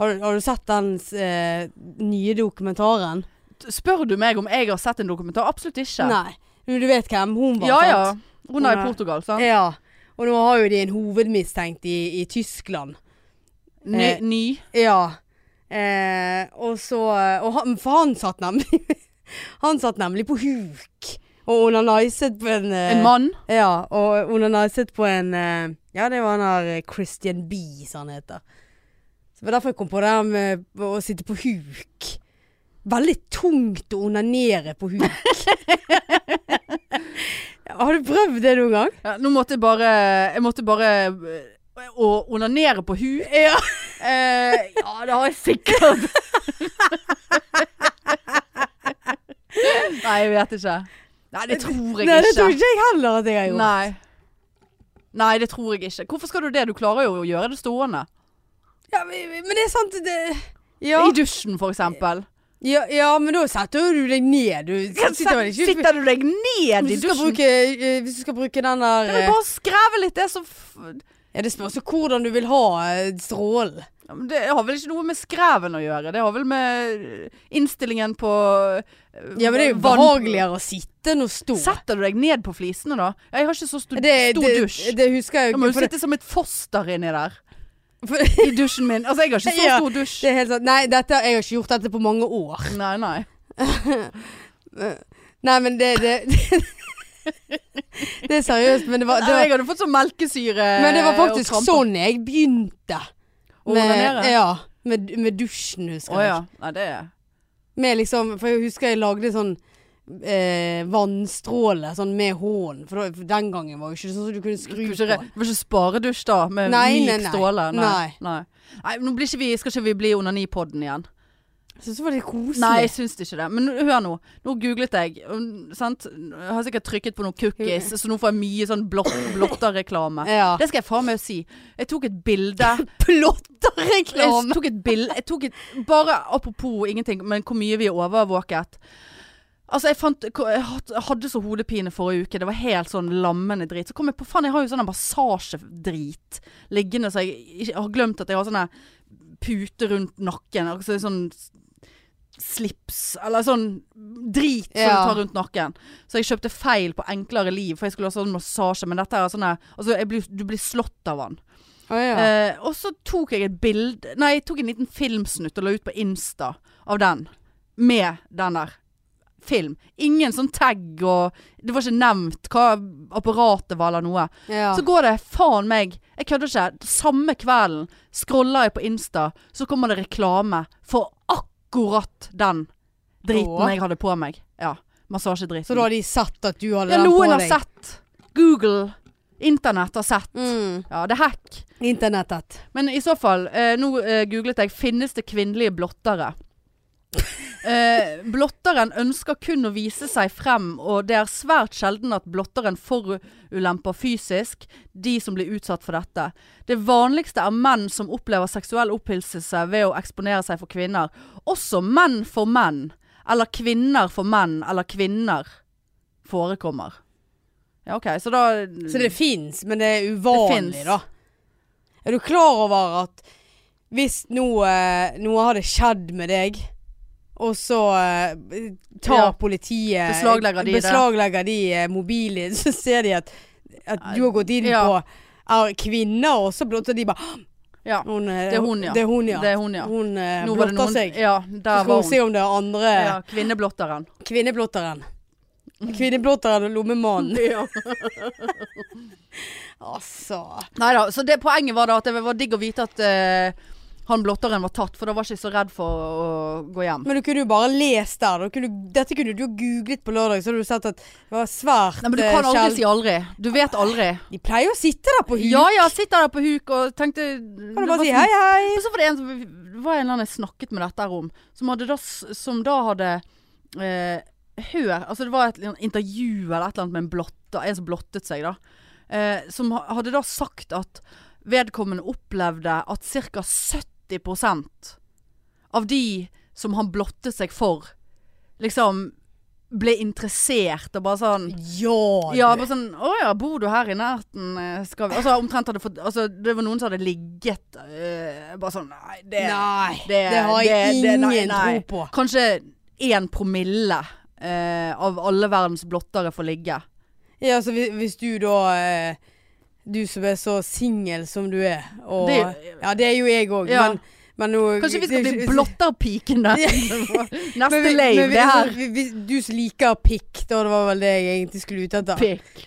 S2: Har, du- har du sett den eh, nye dokumentaren?
S1: Spør du meg om jeg har sett en dokumentar? Absolutt ikke.
S2: Nei. Men du vet hvem hun var?
S1: Ja
S2: sant?
S1: ja. Hun er Eh, i
S2: Hun er-
S1: Portugal, sant?
S2: ja. Og nå har jo de en hovedmistenkt i, i Tyskland.
S1: Ny,
S2: eh,
S1: ny.
S2: Ja. Eh, og så og han, For han satt nemlig Han satt nemlig på huk. Og onaniset på en eh,
S1: En mann.
S2: Ja, og onaniset på en eh, Ja, det var han der eh, Christian B, som han heter. Så det var derfor jeg kom på det her med å sitte på huk. Veldig tungt å onanere på huk. Har du prøvd det noen gang?
S1: Ja, nå måtte jeg bare Jeg måtte bare eh, Å onanere på huk.
S2: Ja.
S1: Eh, ja, det har jeg sikkert. Nei, jeg vet ikke. Nei, det tror jeg
S2: Nei, det
S1: ikke.
S2: tror ikke jeg heller at jeg har gjort.
S1: Nei. Nei, det tror jeg ikke. Hvorfor skal du det? Du klarer jo å gjøre det stående.
S2: Ja, men, men det er sant det, ja.
S1: I dusjen, for eksempel.
S2: ja. Ja, men da setter jo du deg ned. Du sitter vel ikke
S1: Sitter du deg ned i
S2: hvis du, skal
S1: dusjen?
S2: bruke, eh, hvis du skal bruke den der
S1: Kan vi
S2: eh,
S1: bare skreve litt? Det, er så f...
S2: Ja, det spørs jo hvordan du vil ha eh, strålen.
S1: Ja, men det har vel ikke noe med skreven å gjøre? Det har vel med eh, innstillingen på eh,
S2: Ja, men det er jo
S1: vann-
S2: behageligere å sitte enn å stå.
S1: Setter du deg ned på flisene da? Jeg har ikke så stu-
S2: det,
S1: stor
S2: det,
S1: dusj.
S2: Det husker jeg
S1: Jeg må
S2: jo
S1: jo
S2: ikke. for det-
S1: sitte som et foster inni der.
S2: for-
S1: I dusjen min. Altså, jeg har ikke så
S2: Ja,
S1: stor dusj.
S2: Det er helt sant. Nei, dette, jeg har ikke gjort dette på mange år.
S1: Nei, nei.
S2: Nei, men det, det Det er seriøst, men det var, det
S1: Nei, Jeg
S2: var,
S1: hadde fått sånn melkesyre
S2: men det var
S1: og
S2: faktisk
S1: kramper.
S2: sånn jeg begynte.
S1: Å onanere?
S2: ja, med, med dusjen, husker
S1: Å
S2: jeg.
S1: ja. Nei, det er
S2: Med liksom, for jeg husker jeg lagde en sånn eh, vannstråle sånn med hånden. For, da- for den gangen var jo ikke det sånn som du kunne
S1: Du kunne
S2: skru
S1: ikke,
S2: på.
S1: re- det var ikke sparedusj da, med
S2: Nei,
S1: myk
S2: nei, nei.
S1: stråle?
S2: Nei.
S1: nei. Nei, nå blir ikke vi, skal ikke vi bli onanipodden igjen?
S2: Jeg synes det var litt koselig.
S1: Nei, jeg syns ikke det. Men nå- hør nå. Nå googlet jeg. um, Sant? Jeg har sikkert trykket på noen cookies, så nå får jeg mye sånn blott, blotta-reklame.
S2: Ja.
S1: Det skal jeg faen meg si. Jeg tok et bilde. Jeg
S2: Plottereklame!
S1: tok et bilde jeg tok et, Bare apropos ingenting, men hvor mye vi er overvåket. Altså, jeg, fant, jeg had- jeg hadde så hodepine forrige uke. Det var helt sånn lammende drit. Så kom jeg på faen, jeg har jo sånn massasjedrit liggende, så jeg, ikke- jeg har glemt at jeg har sånne puter rundt nakken. Altså sånn s- slips Eller sånn drit som
S2: Ja.
S1: du tar rundt nakken. Så jeg kjøpte feil på Enklere liv, for jeg skulle ha sånn massasje. Men dette er sånne Altså, jeg blir, du blir slått av den.
S2: Å ja.
S1: Eh, og så tok jeg et bilde Nei, jeg tok en liten filmsnutt og la ut på Insta av den. Med den der. Film. Ingen sånn tag og Det var ikke nevnt hva apparatet var eller noe.
S2: ja.
S1: Så går det faen meg Jeg kødder ikke. Samme kvelden scroller jeg på Insta, så kommer det reklame for akkurat den driten
S2: Åh.
S1: jeg hadde på meg. Ja. Massasjedriten.
S2: Så da har de sett at du hadde
S1: ja,
S2: den på
S1: noen har
S2: deg?
S1: sett. Google. Internett har sett.
S2: Mm.
S1: Ja, det er hack.
S2: Internettet.
S1: Men i så fall, eh, nå eh, googlet jeg 'finnes det kvinnelige blottere'? Eh, blotteren ønsker kun å vise seg frem, og det er svært sjelden at blotteren forulemper fysisk de som blir utsatt for dette. Det vanligste er menn som opplever seksuell opphilselse ved å eksponere seg for kvinner. Også menn for menn, eller kvinner for menn, eller kvinner forekommer. Ja, OK, så da
S2: Så det fins, men det er
S1: Det
S2: uvanlig,
S1: finnes.
S2: da. Er du klar over at hvis noe, noe hadde skjedd med deg, og så eh, tar
S1: Ja.
S2: politiet
S1: Beslaglegger de det.
S2: beslaglegger de eh, mobilen din, så ser de at, at du har gått inn
S1: Ja.
S2: på er kvinner også blott, og de bare
S1: Ja.
S2: hun, eh,
S1: Det er hun, ja.
S2: Det er hun, ja.
S1: Det er hun, ja.
S2: Hun eh,
S1: Nå var det
S2: blotter
S1: noen-
S2: seg.
S1: Ja,
S2: Så
S1: der
S2: skal
S1: var
S2: hun
S1: hun.
S2: se om det er andre
S1: Ja, kvinneblotteren.
S2: Kvinneblotteren. Kvinneblotteren og lommemannen. Altså.
S1: Nei da, så det poenget var da at det var digg å vite at eh, han blotteren var tatt, for da var jeg ikke så redd for å gå hjem.
S2: Men du kunne jo bare lest der. da kunne, dette kunne du jo googlet på lørdag, så hadde du sett at det var svært
S1: Nei, men du
S2: eh,
S1: kan aldri
S2: sjelden-
S1: si aldri. Du vet aldri.
S2: De pleier jo å sitte der på huet.
S1: Ja ja, sitter der på huk og tenkte
S2: kan
S1: det
S2: du
S1: var
S2: bare si
S1: sånn-
S2: hei, hei.
S1: Men så var det en som det var en eller annen jeg snakket med dette her om, som, hadde da, s- som da hadde eh, hør Altså det var et eller annet intervju eller et eller annet med en blotter, en som blottet seg, da. Eh, som ha- hadde da sagt at vedkommende opplevde at ca. 70 av de som han blottet seg for, liksom ble interessert og bare sånn
S2: Ja,
S1: ja,
S2: du.
S1: bare sånn Å ja, bor du her i nærheten? Eh, Skal vi Altså omtrent hadde fått Altså det var noen som hadde ligget eh, Bare sånn Nei, det
S2: Nei, det,
S1: det-
S2: har jeg
S1: det- det-
S2: ingen
S1: nei, nei.
S2: tro på.
S1: Kanskje én promille eh, av alle verdens blottere får ligge.
S2: Ja, så hvis, hvis du da eh, Du som er så singel som du er, og
S1: Det-
S2: Ja, det er jo jeg òg,
S1: Ja.
S2: men, men nå
S1: Kanskje vi skal
S2: det-
S1: bli blotterpikene?
S2: Ja. Men
S1: Neste
S2: vi-
S1: lave,
S2: men vi-
S1: det her.
S2: vi- vi- Du som liker pikk, da det var vel det jeg egentlig skulle ut etter.
S1: Pikk.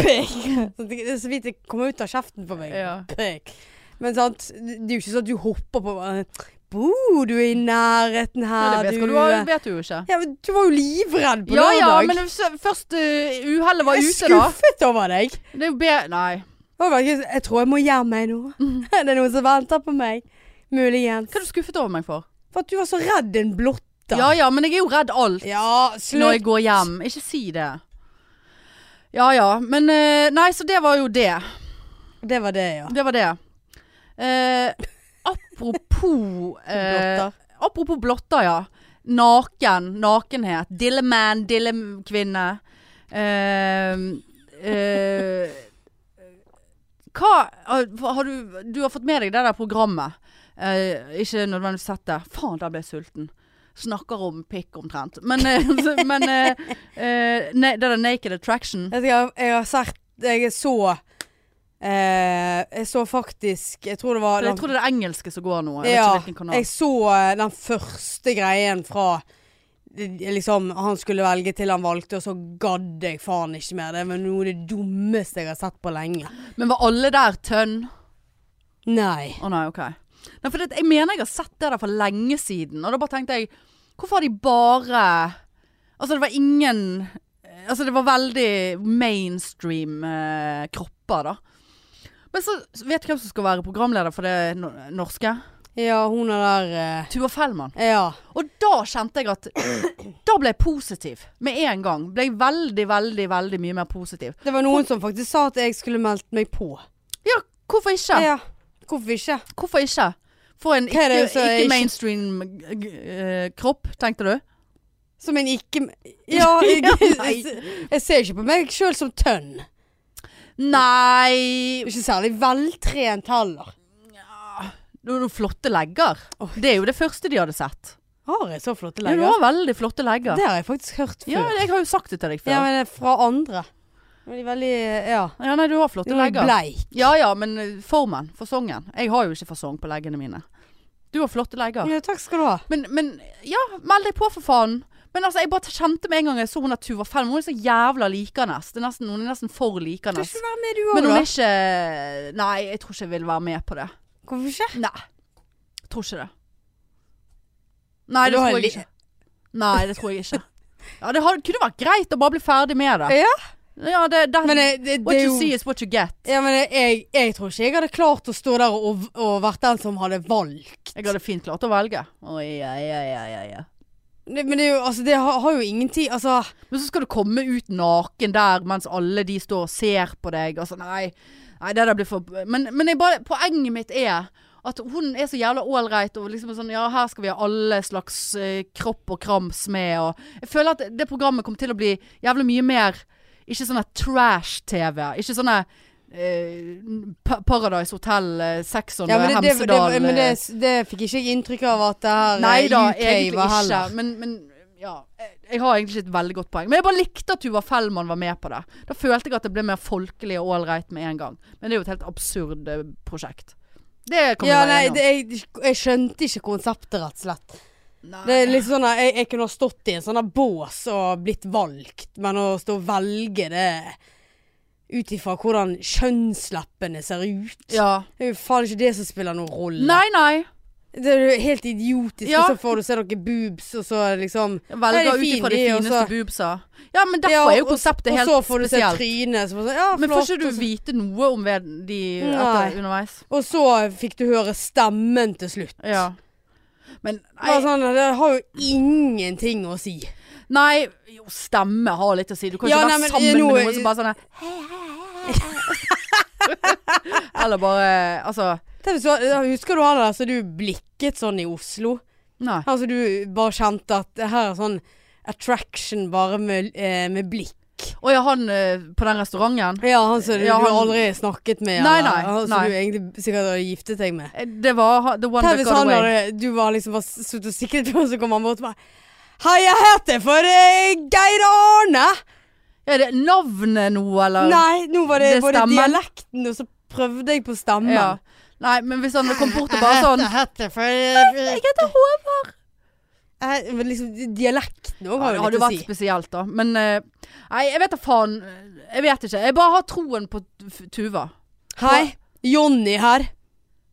S2: Pikk. Sånn, Det er så vidt det kommer ut av kjeften på meg.
S1: Ja.
S2: Pikk. Men sant, det er jo ikke sånn at du hopper på hverandre. Bor du er i nærheten
S1: Ja,
S2: her,
S1: det vet, skal
S2: du?
S1: du, ha- vet du jo ikke.
S2: Ja, men du var jo livredd på
S1: Ja ja,
S2: lørdag.
S1: men s- først uh, uhellet var
S2: jeg er
S1: ute, da.
S2: skuffet over deg.
S1: Det er jo be... Nei.
S2: Jeg, var ikke, jeg tror jeg må gjemme meg nå. det er noen som venter på meg. Muligens.
S1: Hva er Mhm. du skuffet over meg for?
S2: For at du var så redd en blotter.
S1: Ja ja, men jeg er jo redd alt.
S2: ja
S1: når
S2: slutt.
S1: jeg går hjem. Ikke si det. Ja ja, men eh, Nei, så det var jo det.
S2: Det var det, ja.
S1: Det var det. Eh, apropos eh,
S2: Blotter.
S1: Apropos blotter, ja. Naken, nakenhet. Dilleman, dillekvinne. Eh, eh, hva eh, har du, du har fått med deg det der programmet. Eh, ikke nødvendigvis sett det. Faen, der ble jeg sulten. Snakker om pikk omtrent. Men, eh, så- men eh, eh, ne, det der Naked Attraction
S2: Altså, Jeg, jeg, jeg har sett Jeg så eh, Jeg så faktisk Jeg tror det var
S1: For Jeg tror det er det engelske som går nå. Jeg vet
S2: ja,
S1: ikke hvilken kanal.
S2: jeg så eh, den første greien fra det- liksom, han skulle velge til han valgte, og så gadd jeg faen ikke mer. Det var noe av det dummeste jeg har sett på lenge.
S1: Men var alle der tønn?
S2: Nei.
S1: Å nei, ok. Nei, for det, jeg mener jeg har sett det der for lenge siden, og da bare tenkte jeg Hvorfor har de bare Altså, det var ingen Altså, det var veldig mainstream eh, kropper, da. Men så vet du hvem som skal være programleder for det no- norske?
S2: Ja, hun er der
S1: Tuva Fellmann.
S2: eh, Ja.
S1: Og da kjente jeg at Da ble jeg positiv med en gang. Ble jeg veldig, veldig, veldig mye mer positiv.
S2: Det var noen som faktisk sa at jeg skulle meldt meg på.
S1: Ja, hvorfor ikke?
S2: Ja. Hvorfor ikke?
S1: Hvorfor ikke? Få en
S2: Hva er det
S1: ikke,
S2: som er
S1: ikke
S2: ikke-
S1: mainstream eh, kropp, tenkte du?
S2: Som en ikke Ja, jeg,
S1: Nei.
S2: jeg, jeg ser ikke på meg sjøl som tønn.
S1: Nei
S2: Ikke særlig veltrent heller.
S1: Du har noen flotte legger. Det er jo det første de hadde sett.
S2: Har jeg så flotte
S1: Ja, du
S2: legger?
S1: har veldig flotte legger.
S2: Det har jeg faktisk hørt før.
S1: ja, jeg har jo sagt det til deg
S2: Ja,
S1: før. Ja,
S2: men det er fra andre. Men de er veldig Ja.
S1: nei, du har flotte
S2: De er
S1: legger.
S2: bleik.
S1: Ja ja, men eh, formen. Fasongen. Jeg har jo ikke fasong på leggene mine. Du har flotte legger.
S2: Ja, takk skal du ha.
S1: Men, men ja, meld deg på for faen. Men altså, jeg bare kjente med en gang jeg så hun der Tuva Fellm. Hun er så jævla likende. Det er nesten, hun er nesten for
S2: Du
S1: likende.
S2: skal være med, du
S1: Men
S2: òg,
S1: hun er
S2: da.
S1: ikke Nei, jeg tror ikke jeg vil være med på det.
S2: Hvorfor ikke?
S1: Nei. Jeg tror ikke det. Nei,
S2: Du
S1: det
S2: har
S1: tror jeg
S2: li-
S1: ikke. Nei, det tror jeg ikke. Ja, det har, kunne vært greit å bare bli ferdig med det.
S2: Ja.
S1: Ja, det, det,
S2: Men det, det, det
S1: what
S2: er
S1: you
S2: jo
S1: see is what you get.
S2: ja, men eh, jeg, jeg tror ikke jeg hadde klart å stå der og, og vært den som hadde valgt.
S1: Jeg hadde fint klart å velge. Oi, ja, ja, ja, ja, ja.
S2: Det, men det, er jo, altså, det har, har jo ingenting Altså,
S1: Men så skal du komme ut naken der mens alle de står og ser på deg. Altså, nei, nei, det der blir for Men, men jeg bare, poenget mitt er at hun er så jævla ålreit og liksom sånn Ja, her skal vi ha alle slags eh, kropp og krams med og Jeg føler at det programmet kommer til å bli jævlig mye mer Ikke sånne trash-TV. Ikke sånne eh, pa Paradise Hotel, eh, Sexon
S2: ja,
S1: og
S2: men det, det, det,
S1: Hemsedal.
S2: men det,
S1: eh,
S2: det fikk ikke jeg inntrykk av at det her eh,
S1: Nei da,
S2: UK
S1: egentlig
S2: var
S1: ikke.
S2: heller.
S1: Men, men ja, jeg, jeg har egentlig ikke et veldig godt poeng. Men jeg bare likte at Tuva Fellmann var med på det. Da følte jeg at det ble mer folkelig og ålreit med en gang. Men det er jo et helt absurd eh, prosjekt. Det kan
S2: Ja,
S1: vi
S2: nei,
S1: være
S2: det,
S1: enige om.
S2: jeg, jeg skjønte ikke konseptet, rett og slett.
S1: Nei.
S2: Det er litt sånn at jeg, jeg kunne ha stått i en sånn her bås og blitt valgt, men å stå og velge det ut ifra hvordan kjønnsleppene ser ut
S1: ja.
S2: Det er jo faen ikke det som spiller noen rolle.
S1: Nei, nei.
S2: Det er jo helt idiotisk,
S1: Ja.
S2: og så får du se noen boobs, og så er det liksom
S1: Jeg
S2: Nei, det
S1: Velger
S2: er
S1: ut ifra
S2: fin,
S1: de
S2: de, og
S1: fineste
S2: så-
S1: boobsa. Ja, men derfor
S2: Ja,
S1: er jo
S2: og-
S1: konseptet
S2: Og
S1: helt
S2: så får du se
S1: spesielt.
S2: trynet, så får du se, ja,
S1: Men får
S2: flott.
S1: ikke du
S2: og så-
S1: vite noe om ved de
S2: Nei.
S1: etter underveis?
S2: Og så fikk du høre stemmen til slutt.
S1: Ja. Men nei,
S2: Bare sånn, det har jo ingenting å si.
S1: Nei, jo stemme har litt å si. Du kan
S2: Ja,
S1: ikke
S2: nei,
S1: være
S2: men
S1: sammen
S2: nå-
S1: med noen som bare sånn her, hei, hei, hei, hei. Eller bare Altså,
S2: Tenk hvis du- Husker du han der som du blikket sånn i Oslo?
S1: nei.
S2: Her som du bare kjente at det her er sånn attraction bare med, eh, med blikk.
S1: Å ja, han eh, på den restauranten.
S2: Ja, han som du,
S1: Ja,
S2: du
S1: han-
S2: aldri snakket med.
S1: Nei,
S2: eller
S1: nei,
S2: Han
S1: nei.
S2: som du egentlig sikkert hadde giftet deg med.
S1: Eh, Det var ha- the one
S2: Tenk
S1: that
S2: hvis
S1: got
S2: han
S1: away.
S2: hadde, du var liksom bare suttet og sikret på, og så kom han bort og bare Hei, jeg heter for eh, Geir Arne.
S1: Er det navnet nå, eller?
S2: Nei, nå var
S1: det
S2: det,
S1: er
S2: både
S1: stemmen.
S2: dialekten, og så prøvde jeg på stemmen.
S1: Ja. Nei, men hvis han kom bort og bare sånn
S2: heter for eh,
S1: heter Håvard.
S2: eh, men liksom, Dialekten òg
S1: Ja,
S2: har
S1: det
S2: jo
S1: hadde
S2: litt å
S1: vært
S2: si.
S1: spesielt, da. Men eh, Nei, jeg vet da faen. Jeg vet ikke. Jeg bare har troen på T- Tuva.
S2: Hei, Jonny her.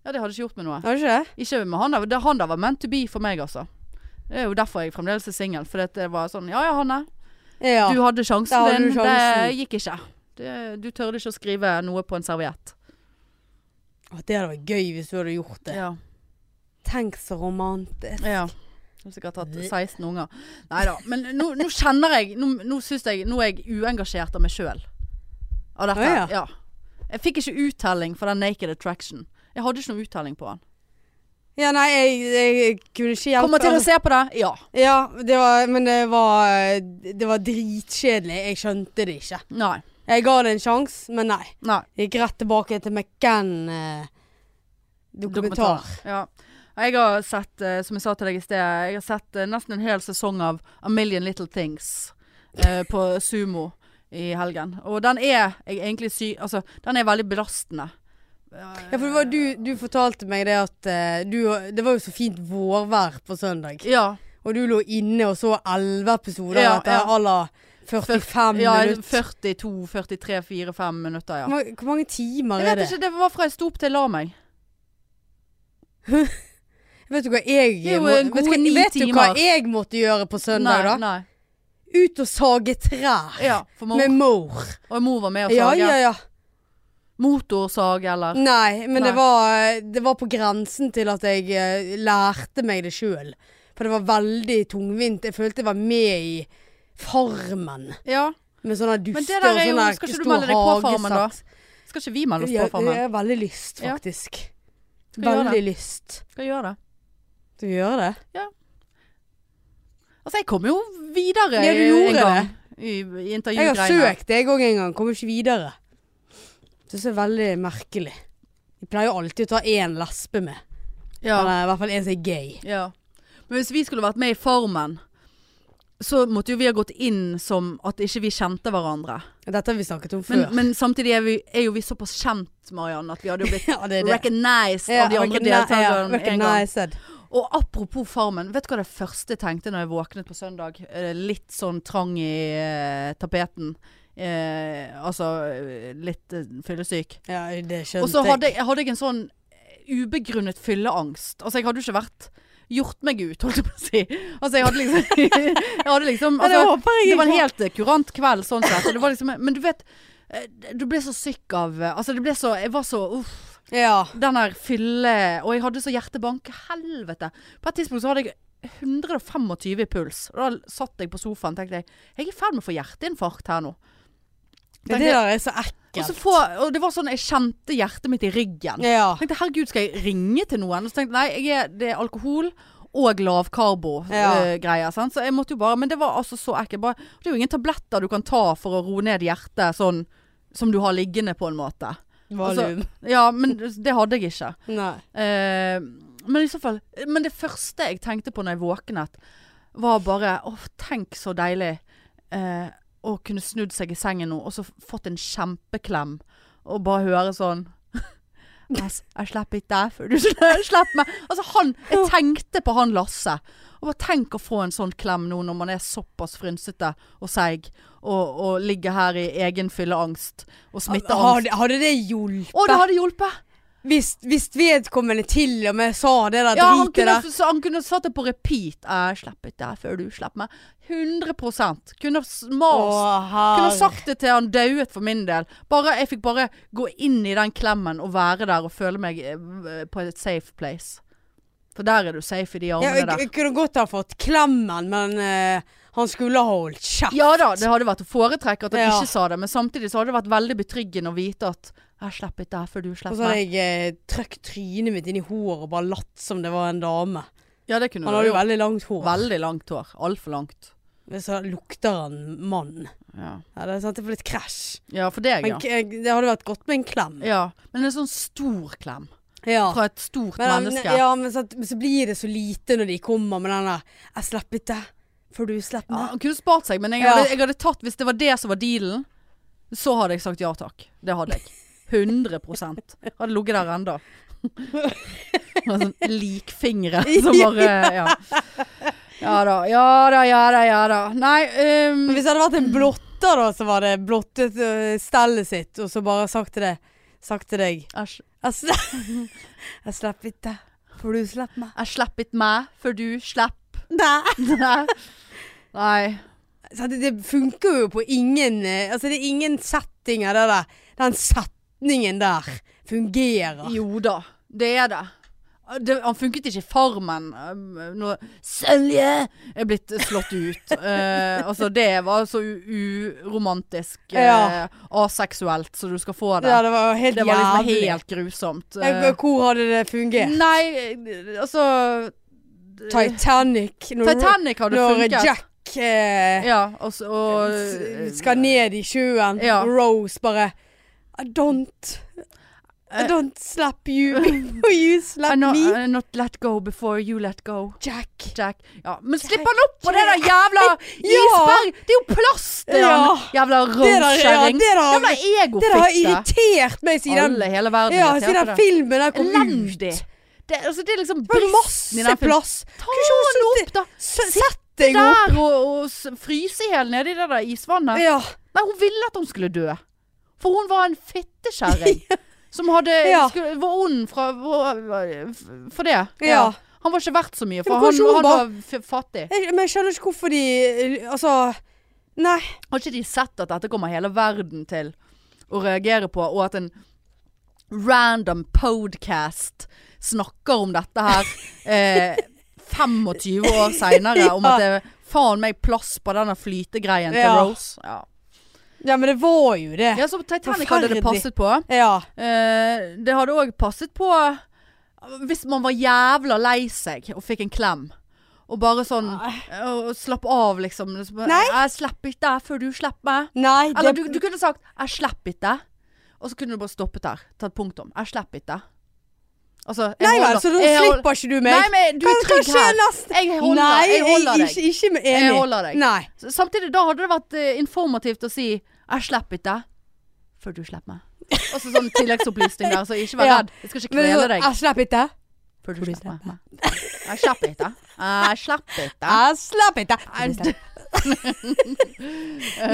S1: Ja, det hadde ikke gjort meg noe.
S2: Har du ikke det?
S1: Ikke med han der. det- Han der var meant to be for meg, altså. Det er jo derfor jeg fremdeles er singel. For det var sånn Ja ja, Hanne.
S2: Ja.
S1: Du hadde sjansen
S2: Da hadde du
S1: din.
S2: sjansen.
S1: Det gikk ikke. Det, du tørde ikke å skrive noe på en serviett.
S2: Å, det hadde vært gøy hvis du hadde gjort det.
S1: Ja.
S2: Tenk så romantisk.
S1: ja. Du har sikkert hatt 16 unger. Nei da. Men nå, nå kjenner jeg Nå, nå syns jeg Nå er jeg uengasjert av meg sjøl. Av dette.
S2: Å, ja.
S1: ja. Jeg fikk ikke uttelling for den Naked Attraction. Jeg hadde ikke noe uttelling på den.
S2: Ja, nei, jeg, jeg kunne ikke hjelpe
S1: Kommer til å se på det? Ja.
S2: Ja, det var, men det var, det var dritkjedelig. Jeg skjønte det ikke.
S1: Nei.
S2: Jeg ga det en sjanse, men nei.
S1: Nei.
S2: Jeg gikk rett tilbake til eh, McCann-dokumentar.
S1: Ja. Jeg har sett, eh, som jeg sa til deg i sted, jeg har sett eh, nesten en hel sesong av A Million Little Things eh, på Sumo i helgen. Og den er jeg egentlig sy... Altså, den er veldig belastende.
S2: Ja, for det var, du, du fortalte meg det at eh, du, Det var jo så fint vårvær på søndag.
S1: Ja.
S2: Og du lå inne og så elleve episoder
S1: Ja,
S2: etter
S1: ja.
S2: à la 45
S1: Ja,
S2: minutter.
S1: 42, 43, 4, 5 minutter, ja.
S2: Hvor mange- Hvor mange timer
S1: Jeg
S2: Sånn er
S1: vet
S2: det?
S1: ikke, det var fra jeg sto opp til jeg la meg.
S2: Vet du hva jeg
S1: Det er jo
S2: må-
S1: en
S2: vet,
S1: gode
S2: du-
S1: ni
S2: vet du hva
S1: timer.
S2: jeg måtte gjøre på søndag, da?
S1: Nei,
S2: Ut og sage trær.
S1: nei. Ja, for mor.
S2: Med mor.
S1: Og mor var med og
S2: Ja,
S1: saget.
S2: ja, Mm. ja.
S1: Motorsag, eller?
S2: Nei, men Det,
S1: Nei.
S2: var, det var på grensen til at jeg eh, lærte meg det sjøl. For det var veldig tungvint. Jeg følte jeg var med i Farmen.
S1: Ja.
S2: Med sånne
S1: det
S2: dufter
S1: der
S2: og
S1: er jo-
S2: sånne
S1: skal ikke du
S2: stor
S1: melde deg på Farmen, da?
S2: hagesaks.
S1: Skal ikke vi melde oss
S2: Ja,
S1: på Farmen?
S2: Jeg har veldig lyst,
S1: Ja.
S2: faktisk.
S1: Skal gjøre
S2: Veldig lyst.
S1: Skal gjøre det.
S2: Du gjør det?
S1: Altså, jeg kom jo videre
S2: Ja, du
S1: eh,
S2: gjorde
S1: en gang. I,
S2: det.
S1: i
S2: Jeg
S1: intervjugreiene.
S2: har søkt jeg òg en gang, kom ikke videre. Synes det er veldig merkelig. De pleier jo alltid å ta én lesbe med.
S1: Ja.
S2: Eller i hvert fall en som er gay.
S1: ja. Men hvis vi skulle vært med i Farmen, så måtte jo vi ha gått inn som at ikke vi kjente hverandre.
S2: Dette har vi snakket om
S1: Men,
S2: før.
S1: men samtidig er, vi, er jo vi såpass kjent, Mariann, at vi hadde jo blitt
S2: ja, det er det.
S1: recognized
S2: Ja,
S1: av de andre
S2: recogni- ja,
S1: deltakerne en gang.
S2: recognized.
S1: Og apropos Farmen, vet du hva det første jeg tenkte når jeg våknet på søndag? Eh, Litt sånn trang i eh, tapeten. Eh, altså eh, litt eh, fyllesyk.
S2: Ja, Ehm, det skjønte
S1: Og så hadde, jeg- hadde jeg en sånn ubegrunnet fylleangst. Altså jeg hadde jo ikke vært gjort meg ut, holdt jeg på å si. Altså jeg hadde liksom, jeg hadde liksom
S2: Men det
S1: altså,
S2: håper jeg
S1: Det var en
S2: ikke.
S1: helt eh, kurant kveld sånn sett. Og det var liksom, men du vet, eh, du ble så syk av eh, Altså det ble så Jeg var så uff.
S2: Ja.
S1: Den der fylle Og jeg hadde så hjertebank. Helvete. På et tidspunkt så hadde jeg 125 i puls. Og da satt jeg på sofaen og tenkte jeg, jeg er i ferd med å få hjerteinfarkt her nå.
S2: Det
S1: Tenkte jeg,
S2: der er så
S1: og, så
S2: ekkelt.
S1: få, og det var sånn jeg kjente hjertet mitt i ryggen.
S2: Ja.
S1: Jeg tenkte herregud, skal jeg ringe til noen? Og så tenkte jeg nei, jeg er, det er alkohol. Og
S2: Ja.
S1: lavkarbo-greier. sant? så jeg måtte jo bare Men det var altså så ekkelt. Bare, det er jo ingen tabletter du kan ta for å roe ned hjertet sånn som du har liggende, på en måte.
S2: Volum.
S1: Ja, men det hadde jeg ikke.
S2: Nei.
S1: Eh, men i så fall Men det første jeg tenkte på når jeg våknet, var bare Å, tenk så deilig eh, å kunne snudd seg i sengen nå og så fått en kjempeklem og bare høre sånn jeg, s- jeg slipper ikke deg før du slipper meg. Altså han, jeg tenkte på han Lasse. Og bare tenk å få en sånn klem nå når man er såpass frynsete og seig og, og ligger her i egen fylleangst og smitteangst.
S2: Altså, Hadde, hadde det hjulpet?
S1: Å, det hadde hjulpet!
S2: Hvis, hvis vedkommende til og med sa det der
S1: Ja, han
S2: dritet
S1: kunne,
S2: der.
S1: så han kunne satt det på repeat. Jeg slipper ikke deg før du slipper meg. 100 Kunne s- mast. Kunne
S2: herre.
S1: sagt det til han dauet for min del. Bare, jeg fikk bare gå inn i den klemmen og være der og føle meg eh, v- på et safe place. For der er du safe i de
S2: Ja,
S1: armene
S2: jeg,
S1: der.
S2: jeg kunne godt ha fått klemmen, men eh, han skulle ha holdt kjeft.
S1: Ja da, det hadde vært å foretrekke at han
S2: Ja.
S1: ikke sa det, men samtidig så hadde det vært veldig betryggende å vite at jeg slipper ikke deg før du
S2: Og
S1: slipper
S2: så hadde
S1: meg.
S2: jeg eh, trøkt trynet mitt inn i håret og bare latt som det var en dame.
S1: Ja, det kunne
S2: Han
S1: du
S2: hadde jo
S1: gjort.
S2: veldig langt hår.
S1: Veldig langt hår. Altfor langt.
S2: Men så lukter han mann.
S1: Ja.
S2: Ja, det er sant, det får litt krasj.
S1: ja, for deg,
S2: Men
S1: ja.
S2: k- eh, det hadde vært godt med en klem.
S1: ja. Men en sånn stor klem.
S2: Ja.
S1: fra et stort
S2: Men, han-
S1: menneske.
S2: ja, men så, men så blir det så lite når de kommer med den der 'Jeg slipper ikke før du slipper
S1: Ja,
S2: meg'.
S1: han kunne spart seg, men jeg
S2: Ja.
S1: hadde, jeg hadde tatt Hvis det var det som var dealen, så hadde jeg sagt ja takk. Det hadde jeg. 100 Hadde ligget der ennå. Med sånn likfingre som bare ja. ja da, ja da, ja da. Ja da. Nei um,
S2: Men hvis det hadde vært en blotter, da, så var det blottet eh, stellet sitt, og så bare sagt til, det, sagt til deg
S1: Æsj.
S2: Jeg, sl jeg slipper ikke deg, for du slipper meg.
S1: Jeg slipper ikke meg før du slipper.
S2: Nei.
S1: Nei.
S2: Så det, det funker jo på ingen eh, Altså, det er ingen settinger det der. Den setningen der fungerer.
S1: Jo da, det er det. det han funket ikke i Farmen. eh, Når Sølje er blitt slått ut. Eh, altså, det var så u- uromantisk. eh,
S2: Ja.
S1: Aseksuelt, så du skal få det.
S2: Ja, det var jo helt
S1: det var liksom
S2: jævlig.
S1: helt grusomt.
S2: Jeg-
S1: Eh,
S2: Hvor hadde det fungert?
S1: nei, eh, altså
S2: Titanic. Når,
S1: Titanic hadde
S2: når
S1: funket.
S2: Jack eh,
S1: ja, og, så- og
S2: s- skal ned i sjøen,
S1: Ja.
S2: og Rose bare I don't I
S1: Eh.
S2: don't slap you before you slap
S1: I not,
S2: me,
S1: I not let go before you let go.
S2: Jack.
S1: Jack. Ja, men slipp han opp på det der jævla
S2: Ja.
S1: isberg! Det er jo plast i
S2: Ja.
S1: den jævla
S2: Det der, ja,
S1: rovkjerring.
S2: det der,
S1: Jævla
S2: det der har
S1: egofitte.
S2: irritert meg siden
S1: Alle i hele verden
S2: ja,
S1: irriterte
S2: siden
S1: det.
S2: filmen der kom ut.
S1: Elendig. Det, altså, det er liksom
S2: Det var jo
S1: bristen i
S2: masse
S1: den filmen.
S2: plass!
S1: Ta
S2: Kunne ikke hun
S1: den
S2: sittet-
S1: opp, da!
S2: S- Sett deg opp!
S1: Der og, og s- fryse i hjel nede i det der isvannet.
S2: Ja.
S1: Nei, hun ville at hun skulle dø. For hun var en fettekjerring. som hadde
S2: Ja.
S1: skulle, Var ond fra var- For det.
S2: ja.
S1: Han var ikke verdt så mye, for
S2: Men
S1: han,
S2: kanskje hun
S1: han
S2: bare-
S1: var f fattig.
S2: Jeg, men jeg skjønner ikke hvorfor de Altså Nei.
S1: Har ikke de sett at dette kommer hele verden til å reagere på, og at en random podcast snakker om dette her eh, 25 år seinere, om at det er faen meg plass på denne flytegreien til
S2: Ja.
S1: Rose. Ja.
S2: Ja, men det var jo det.
S1: ja, så Titanic hadde det
S2: Forferdelig.
S1: passet på.
S2: Ja.
S1: Eh, det hadde òg passet på hvis man var jævla lei seg og fikk en klem. Og bare sånn og, og Slapp av, liksom.
S2: Nei.
S1: 'Jeg slipper ikke deg før du slipper meg'.
S2: Nei,
S1: Eller
S2: det,
S1: du, du kunne sagt 'jeg slipper ikke', og så kunne du bare stoppet der. Tatt punktum. 'Jeg slipper ikke'. Altså, jeg
S2: nei vel,
S1: holder-
S2: så da
S1: jeg hold-
S2: slipper ikke du meg.
S1: Nei, men du
S2: Hva-
S1: er
S2: hva
S1: trygg
S2: skjer
S1: her.
S2: neste?
S1: Jeg holder,
S2: nei,
S1: jeg holder deg.
S2: Ikke, ikke med enig.
S1: Jeg holder deg.
S2: Nei.
S1: S- Samtidig, da hadde det vært eh, informativt å si 'jeg slipper ikke'. Før du slipper meg. Og så sånn tilleggsopplysning der, så ikke vær
S2: Ja.
S1: redd. Jeg skal ikke
S2: Men det er
S1: kvele
S2: sånn,
S1: deg.
S2: jeg slipper ikke.
S1: Før du
S2: Får du
S1: slipper meg. Jeg slapp ikke. Jeg slapp ikke.
S2: Jeg slipper ikke.
S1: Jeg-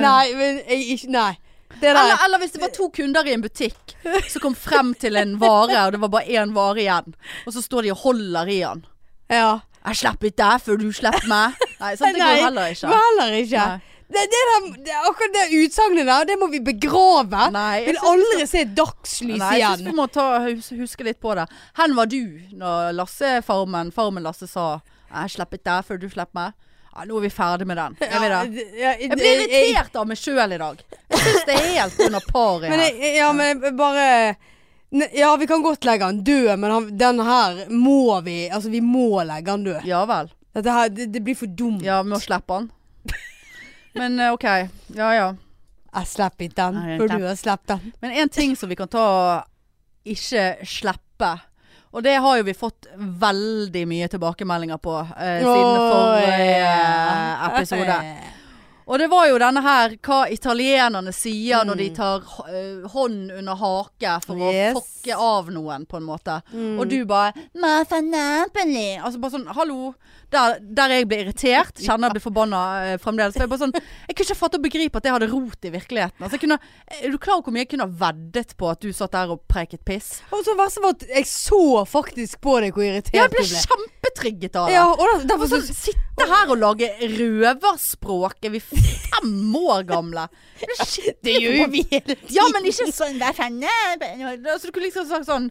S2: Nei, men jeg ikke Nei. Det der.
S1: Eller, eller hvis det var to kunder i en butikk som kom frem til en vare, og det var bare én vare igjen. Og så står de og holder i den.
S2: Ja.
S1: Jeg slapp ikke deg før du slapp meg. Nei, sant? Det
S2: Nei,
S1: går heller
S2: Det var
S1: ikke.
S2: heller ikke.
S1: Nei.
S2: Det, det der, det, akkurat det utsagnet der, det må vi begrave.
S1: Nei, jeg
S2: Vil
S1: syns-
S2: aldri se dagslys
S1: Nei, jeg syns vi
S2: igjen.
S1: må ta, hus- huske litt på det. Hen var du når Lasse Farmen, Farmen Lasse sa 'Jeg slapp ikke deg før du slapp meg'? Ja, nå er vi ferdig med den. Er vi
S2: Ja,
S1: det?
S2: det- ja,
S1: Jeg blir
S2: det- jeg-
S1: irritert av meg sjøl i dag. Jeg syns det er helt under paret
S2: Men
S1: her.
S2: jeg, ja, men jeg bare Ne- Ja, vi kan godt legge han død, men han, den her må vi Altså, vi må legge han død.
S1: Ja vel.
S2: Dette her, det, det blir for dumt.
S1: Ja, vi må slippe han. Men eh, OK. Ja ja.
S2: Jeg slipper ikke den
S1: Nei,
S2: før
S1: den-
S2: du har sluppet den.
S1: Men én ting som vi kan ta ikke slippe. Og det har jo vi fått veldig mye tilbakemeldinger på eh, siden
S2: Åh,
S1: forrige
S2: ja.
S1: eh, episode. Og det var jo denne her hva italienerne sier når de tar eh, hånd under hake for
S2: Mm. Yes.
S1: å fokke av noen, på en måte.
S2: Mm.
S1: Og du bare «Ma fa Napoli!» Altså bare sånn, hallo Der, der jeg blir irritert, kjenner jeg blir forbanna eh, fremdeles. For jeg, bare sånn, jeg kunne ikke fatte og begripe at det hadde rot i virkeligheten. Altså, jeg kunne, er du klar over hvor mye jeg kunne ha veddet på at du satt der og preiket piss?
S2: Og så verste var at jeg så faktisk på deg hvor irritert
S1: Ja, jeg ble
S2: du ble.
S1: kjempetrigget av det.
S2: Ja, og da, derfor
S1: Og
S2: så
S1: sånn, sitte her og lage røverspråk. Er vi fem år gamle? Det er skikkelig
S2: Det gjør jo vi hele tiden.
S1: Ja, men ikke sånn hver fenne altså, Du kunne liksom sagt sånn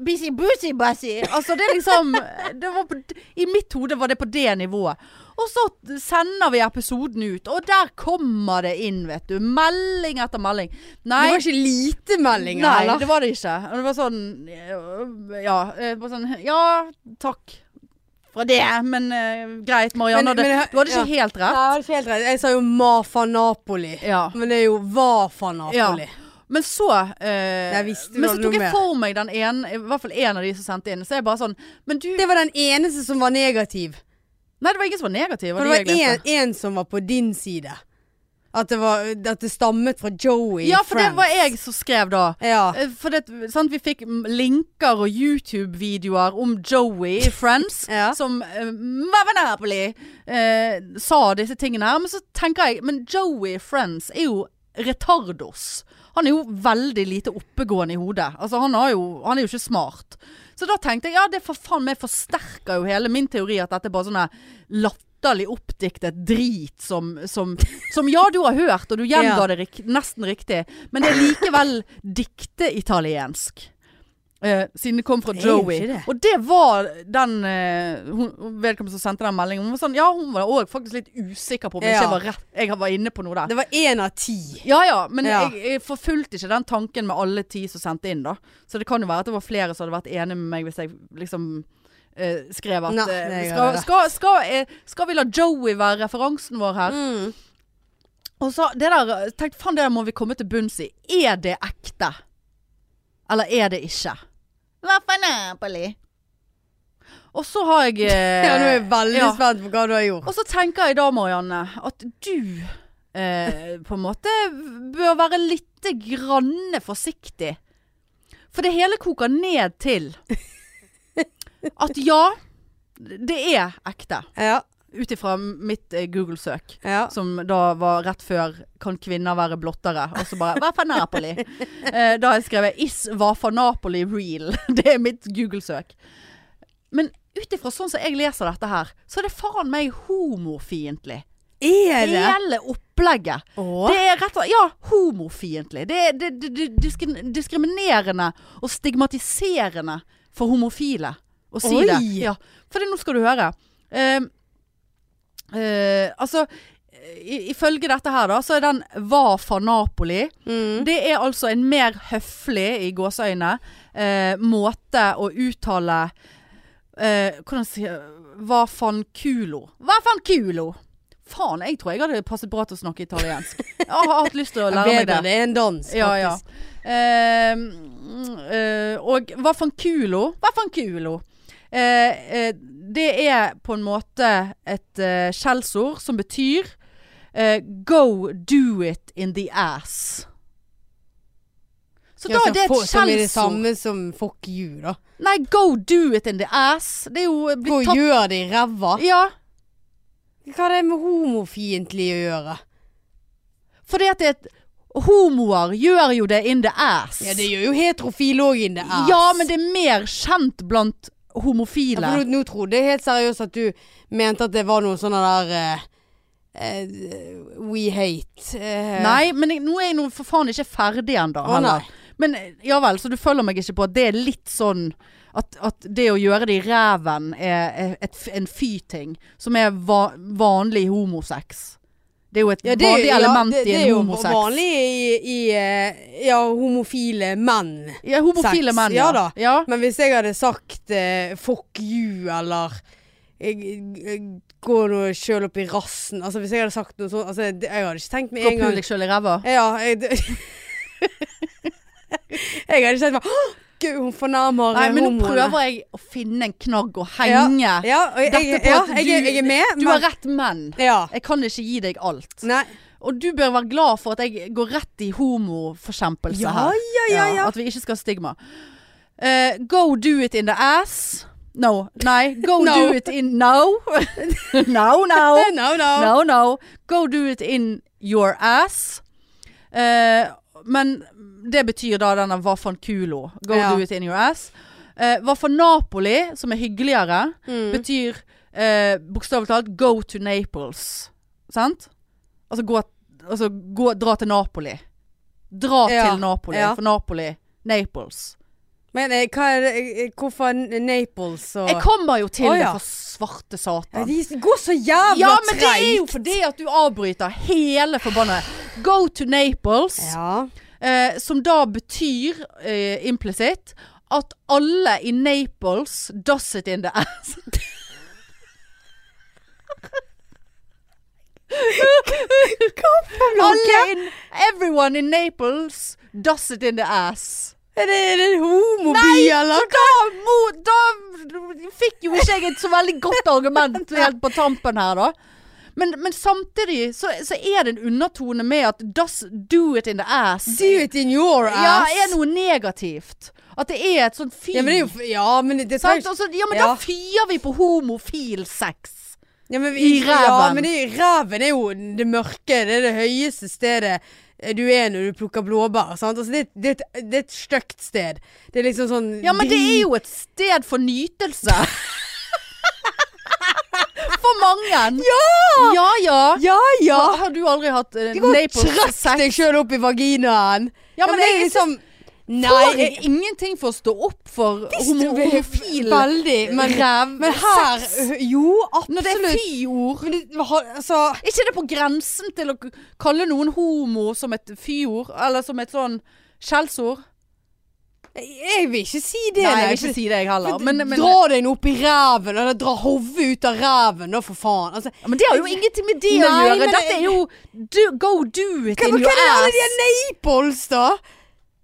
S1: Busy, busy, busy Altså det er liksom det var på, I mitt hode var det på det nivået Og så sender vi episoden ut Og der kommer det inn, vet du Melding etter melding Nei,
S2: Det var ikke lite meldinger,
S1: nei
S2: heller.
S1: det var det ikke Og det var sånn øh, Ja, øh, bare sånn, ja takk Fra det, men øh, greit Marianne
S2: Men- men jeg-
S1: hadde- Du hadde ikke helt
S2: Nei,
S1: rett
S2: det var ikke helt rett. Jeg sa jo Mafa Napoli.
S1: Ja
S2: Men det er jo Vafa Napoli.
S1: Men så eh,
S2: visste du
S1: Men så
S2: hadde
S1: tok
S2: noe
S1: jeg
S2: med.
S1: for meg den ene, i hvert fall en av de som sendte inn. Så jeg bare sånn Men du
S2: Det var den eneste som var negativ.
S1: Nei, det var ingen som var negativ.
S2: For
S1: var
S2: det
S1: det jeg
S2: var
S1: leste.
S2: én som var på din side. At det, var, at det stammet fra Joey i
S1: Ja, for det
S2: Friends.
S1: var jeg som skrev da.
S2: Ja.
S1: Eh, For det, sant, vi fikk m- linker og YouTube-videoer om Joey i Friends
S2: Ja.
S1: som eh, Mavenapoli eh, sa disse tingene her. Men så tenker jeg Men Joey i Friends er jo retardos. Han er jo veldig lite oppegående i hodet. Altså, han, har jo, han er jo ikke smart. Så da tenkte jeg ja, det for faen meg forsterker jo hele min teori at dette er bare sånne latterlig oppdiktet drit som, som, som ja, du har hørt, og du gjenga
S2: Ja.
S1: det rik nesten riktig, men det er likevel dikteitaliensk. Eh, siden det kom fra
S2: Det er jo
S1: Joey.
S2: ikke det.
S1: Og det var den eh, hun, vedkommende som sendte den meldingen. Hun var sånn, ja, hun var òg faktisk litt usikker på om
S2: Ja.
S1: ikke jeg var rett. Jeg var inne på noe der.
S2: Det var én av ti.
S1: Ja ja, men
S2: Ja.
S1: Jeg, jeg forfulgte ikke den tanken med alle ti som sendte inn, da. Så det kan jo være at det var flere som hadde vært enige med meg hvis jeg liksom eh, skrev at
S2: Nei,
S1: eh,
S2: det gjør
S1: skal,
S2: det.
S1: skal, skal, eh, skal vi la Joey være referansen vår her?
S2: Mm.
S1: Og så det der eh, tenkte, Faen, det der må vi komme til bunns i. Er det ekte? Eller er det ikke? Hva faen er Polly? Og så har jeg eh,
S2: Ja, nå er jeg veldig
S1: ja.
S2: spent på hva du har gjort.
S1: og så tenker jeg da, Marianne, at du eh, på en måte bør være litt grann forsiktig. For det hele koker ned til At ja, det er ekte.
S2: Ja,
S1: Ut ifra mitt eh, Google-søk.
S2: ja.
S1: Som da var rett før 'Kan kvinner være blottere?' Og så bare 'Hva for Napoli?' Eh, da har jeg skrevet 'Is hva for Napoli real?' Det er mitt Google-søk. Men ut ifra sånn som jeg leser dette her, så er det faen meg homofiendtlig.
S2: Er det?
S1: Hele opplegget.
S2: Åh.
S1: Det er rett og slett Ja, homofiendtlig. Det er det, det, det, diskri- diskriminerende og stigmatiserende for homofile å si
S2: Oi.
S1: det. Ja, for det, nå skal du høre. Eh, eh, altså i- Ifølge dette her, da, så er den 'Var fra Napoli'.
S2: Mm.
S1: Det er altså en mer høflig, i gåseøyne, eh, måte å uttale eh, Hvordan sier Hva fan culo? Hva fan culo? Faen, jeg tror jeg hadde passet bra til å snakke italiensk. Jeg har hatt lyst til å lære meg det.
S2: Bedre det er en dans,
S1: Ja, ja.
S2: faktisk.
S1: Eh, mm, eh, og hva fan culo? Hva fan culo? Eh, eh, det er på en måte et eh, skjellsord som betyr eh, Go do it in the ass. Så
S2: Ja,
S1: da er det
S2: få-
S1: et
S2: Som er det
S1: skjellsord.
S2: samme som fuck you, da.
S1: Nei, go do it in the ass. Det er jo
S2: Gå
S1: blitt
S2: og
S1: tatt
S2: gjør det i ræva.
S1: Ja.
S2: Hva har det med homofiendtlig å gjøre?
S1: Fordi at det er et Homoer gjør jo det in the ass.
S2: Ja, det gjør jo heterofile òg in the ass.
S1: Ja, men det er mer kjent blant
S2: Ja,
S1: homofile.
S2: for nå, nå trodde jeg helt seriøst at du mente at det var noe sånn der eh, eh, We hate. eh,
S1: Nei, men jeg, nå er jeg nå for faen ikke ferdig ennå.
S2: Å, nei.
S1: heller. men eh, ja vel, så du følger meg ikke på at det er litt sånn at, at det å gjøre det i ræven er er et, f- en fy-ting, som er va vanlig homosex. Det er jo et
S2: Ja, det, er-
S1: vanlig
S2: ja,
S1: element
S2: det,
S1: i
S2: det er
S1: en
S2: jo
S1: homosex.
S2: vanlig i, i eh, ja, homofile menn.
S1: Ja, homofile
S2: sex.
S1: menn,
S2: Ja da.
S1: Ja.
S2: Men hvis jeg hadde sagt eh, fuck you eller jeg, jeg, gå nå sjøl opp i rassen Altså Hvis jeg hadde sagt noe sånt altså, det- Jeg hadde ikke tenkt med
S1: Gå
S2: en
S1: pul
S2: gang
S1: deg sjøl i ræva.
S2: Ja, jeg Jeg hadde ikke tenkt på «Åh, Gud, hun fornærmer
S1: Nei, men nå
S2: homoene».
S1: prøver jeg å finne en knagg å henge
S2: Ja, og jeg,
S1: dette
S2: jeg,
S1: på
S2: ja,
S1: at
S2: jeg,
S1: du-
S2: er- jeg er med.
S1: Du har rett menn.
S2: Ja.
S1: Jeg kan ikke gi deg alt.
S2: Nei.
S1: Og du bør være glad for at jeg går rett i homoforkjempelse
S2: Ja,
S1: her.
S2: ja, ja, ja.
S1: At vi ikke skal ha stigma. Eh, go do it in the ass. No. Nei. Go
S2: No.
S1: do it in No. no, no.
S2: No, no.
S1: No, no. Go do it in your ass. Eh, men det betyr da denne hva faen kulo. Go
S2: Ja.
S1: do it in your ass. Eh, hva for Napoli, som er hyggeligere,
S2: Mm.
S1: betyr eh, bokstavelig talt go to Naples. Sant? Altså, gå, altså gå, dra til Napoli. Dra
S2: Ja,
S1: til Napoli,
S2: ja.
S1: for Napoli Naples.
S2: Men eh, hva er det eh, Hvorfor N- Naples og
S1: Jeg kommer jo til
S2: Å,
S1: det
S2: ja.
S1: for svarte
S2: Ja,
S1: satan.
S2: De går så jævla
S1: Ja, men det er jo
S2: treigt.
S1: fordi at du avbryter hele forbanna. Go to Naples,
S2: Ja.
S1: eh, som da betyr eh, implisitt at alle i Naples does it in the ass. Alle in, everyone in Naples does it in the ass.
S2: Er det, er det en homoby, eller?
S1: Da, mo, da fikk jo ikke jeg et så veldig godt argument helt på tampen her, da. Men, men samtidig så, så er det en undertone med at does do it in the ass
S2: Do it in your ass.
S1: ja, er noe negativt. At det er et sånt fyr.
S2: ja, men det er jo f- Ja, men det
S1: sant?
S2: trenger
S1: Altså, ja, men
S2: Ja.
S1: da fyrer vi på homofil sex.
S2: ja, men,
S1: i
S2: Ja,
S1: ræven.
S2: men det, ræven er jo det mørke. Det er det høyeste stedet du er når du plukker blåbær. Sant? Altså, det, det, er et- det er et stygt sted. Det er liksom sånn
S1: Ja, men det er jo et sted for nytelse. For mange. Ja! Ja, ja.
S2: Ja, ja!
S1: Har- Har du aldri hatt uh,
S2: Du kan
S1: Naples
S2: trakk
S1: sex?
S2: deg sjøl opp i vaginaen.
S1: Ja, men jeg-
S2: liksom- Nei,
S1: Får jeg
S2: jeg-
S1: ingenting for å stå opp for
S2: du
S1: homo-
S2: vel-
S1: homofil
S2: Veldig. Men,
S1: ræv
S2: men her
S1: sex?
S2: Jo, absolutt.
S1: Når det er fy-ord.
S2: Men det- ha- altså
S1: Er ikke det på grensen til å k- kalle noen homo som et fy-ord? Eller som et sånn skjellsord?
S2: Jeg vil ikke si det.
S1: Nei, jeg vil
S2: for-
S1: ikke si det, jeg heller.
S2: for
S1: Men, men,
S2: dra deg nå opp i ræven, eller dra hodet ut av ræven, da, for faen. Altså,
S1: men det har jo ingenting med det å
S2: Nei,
S1: gjøre.
S2: men-
S1: Dette er jo do, go do it
S2: hva,
S1: in
S2: men hva
S1: your
S2: er det med alle
S1: ass.
S2: de her Naples, da?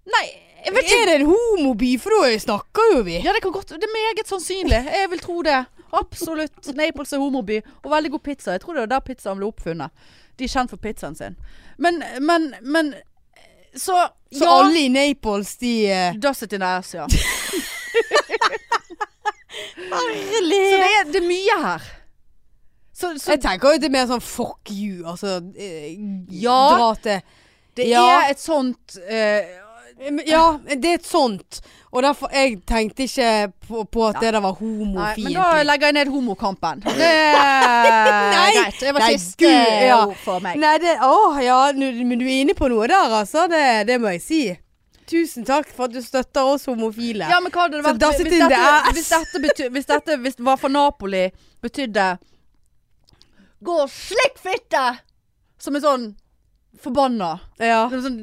S1: Nei, jeg vet
S2: Er
S1: ikke.
S2: det en homoby? For da snakker jo vi.
S1: Ja, det kan godt Det er meget sannsynlig. Jeg vil tro det. Absolutt. Naples er homoby. Og veldig god pizza. Jeg tror det var der pizzaen ble oppfunnet. De er kjent for pizzaen sin. Men, men, men Så,
S2: Så
S1: ja.
S2: alle i Naples, de eh,
S1: Does it in the ass, ja. Så
S2: Herlig!
S1: det er, det er mye her. Så, så
S2: Jeg tenker jo det er mer sånn fuck you, altså. eh,
S1: Ja.
S2: Dra til
S1: det
S2: ja.
S1: er et sånt eh,
S2: Ja, det er et sånt. Og derfor Jeg tenkte ikke på, på at det der var
S1: Nei, men
S2: homofiendtlig.
S1: da legger jeg ned homokampen. Det er greit. Det var
S2: Nei,
S1: siste
S2: gud, ja.
S1: ord for meg.
S2: Nei, det, åh, ja, nu- men du er inne på noe der, altså. Det, det må jeg si. Tusen takk for at du støtter oss homofile.
S1: Ja, men hva hadde det
S2: Så
S1: vært
S2: dasset
S1: hvis
S2: inn
S1: dette,
S2: det ass.
S1: hvis dette, bety, hvis dette hvis, var fra Napoli betydde Gå og slikk fitte! Som en sånn forbanna.
S2: Ja.
S1: Som Sånn,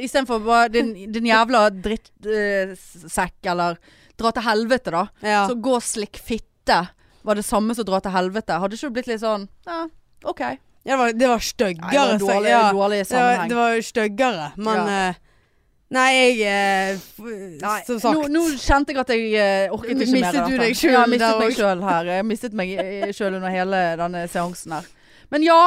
S1: Istedenfor bare din, din jævla drittsekk, eller dra til helvete, da.
S2: ja.
S1: Så gå og slikk fitte var det samme som dra til helvete. Hadde ikke du blitt litt sånn Ja, OK.
S2: Ja, det var, det
S1: Nei,
S2: var
S1: det
S2: styggere.
S1: var
S2: så-
S1: dårlig,
S2: ja.
S1: dårlig
S2: Det var,
S1: sammenheng.
S2: det var styggere, men eh, Nei, jeg eh, f-
S1: Nei,
S2: Som sagt.
S1: Nå, nå kjente jeg at jeg eh, orket ikke
S2: Mistet
S1: mer av
S2: du
S1: dette.
S2: deg selv
S1: ja, jeg mistet
S2: der
S1: meg
S2: også?
S1: selv her. Jeg mistet meg eh, selv under hele denne seansen her. Men ja,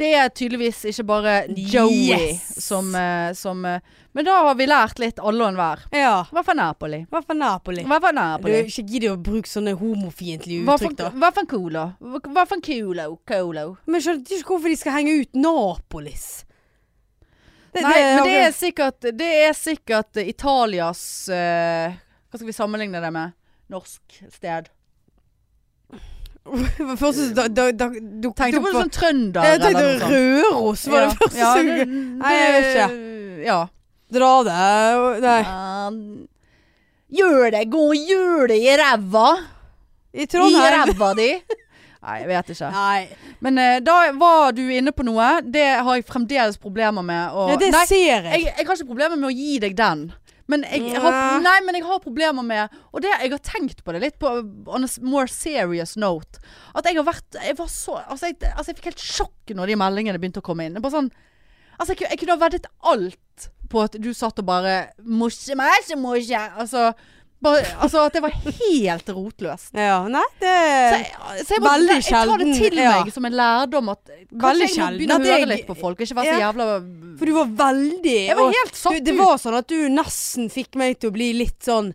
S1: det er tydeligvis ikke bare Joey
S2: Yes!
S1: som, eh, som eh, Men da har vi lært litt alle og enhver.
S2: Ja.
S1: Hva for Napoli?
S2: Hva for Napoli?
S1: Hva for
S2: Du
S1: Napoli?
S2: ikke gidd å bruke sånne homofiendtlige
S1: Hva
S2: uttrykk, da.
S1: for- hva for Colo? Hva for Colo? Colo?
S2: Men jeg skjønner ikke hvorfor de skal henge ut Napolis. Det-
S1: Nei,
S2: det-
S1: men det er sikkert, det er sikkert Italias eh, Hva skal vi sammenligne det med? Norsk sted.
S2: Først så da, da, da, du
S1: Tenkte på det sånn trønder
S2: Jeg tenkte
S1: eller noe sånt.
S2: Røros var det første
S1: ja,
S2: som
S1: det-
S2: Nei, jeg vet ikke.
S1: det- Ja.
S2: Dra det Nei.
S1: Um, Gjør det, gå og gjør det i ræva!
S2: I
S1: I
S2: Trondheim.
S1: ræva di! Nei, jeg vet ikke.
S2: Nei.
S1: Men eh, da var du inne på noe. Det har jeg fremdeles problemer med. å-
S2: Ja, det
S1: nei,
S2: ser jeg.
S1: jeg, jeg har ikke problemer med å gi deg den. Men jeg, jeg
S2: Nei.
S1: har, nei, men jeg har problemer med Og det, jeg har tenkt på det litt på on a s- more serious note. At jeg har vært Jeg var så Altså, jeg, altså, jeg fikk helt sjokk når de meldingene begynte å komme inn. Det er Bare sånn Altså, jeg, kunne- jeg kunne ha veddet alt på at du satt og bare Morse, morse, morse. Altså, bare, altså at det var helt rotløst.
S2: Ja, nei, det
S1: Så jeg, så jeg, må,
S2: Veldig
S1: jeg tar det til
S2: sjelden, ja.
S1: meg som en lærdom at Kanskje
S2: Veldig
S1: jeg må
S2: sjelden
S1: begynne
S2: at
S1: å høre
S2: jeg-
S1: litt på folk. og Ikke være så
S2: Ja.
S1: jævla
S2: For du var veldig
S1: Jeg var
S2: og-
S1: helt satt
S2: du, Det
S1: ut.
S2: var sånn at du nesten fikk meg til å bli litt sånn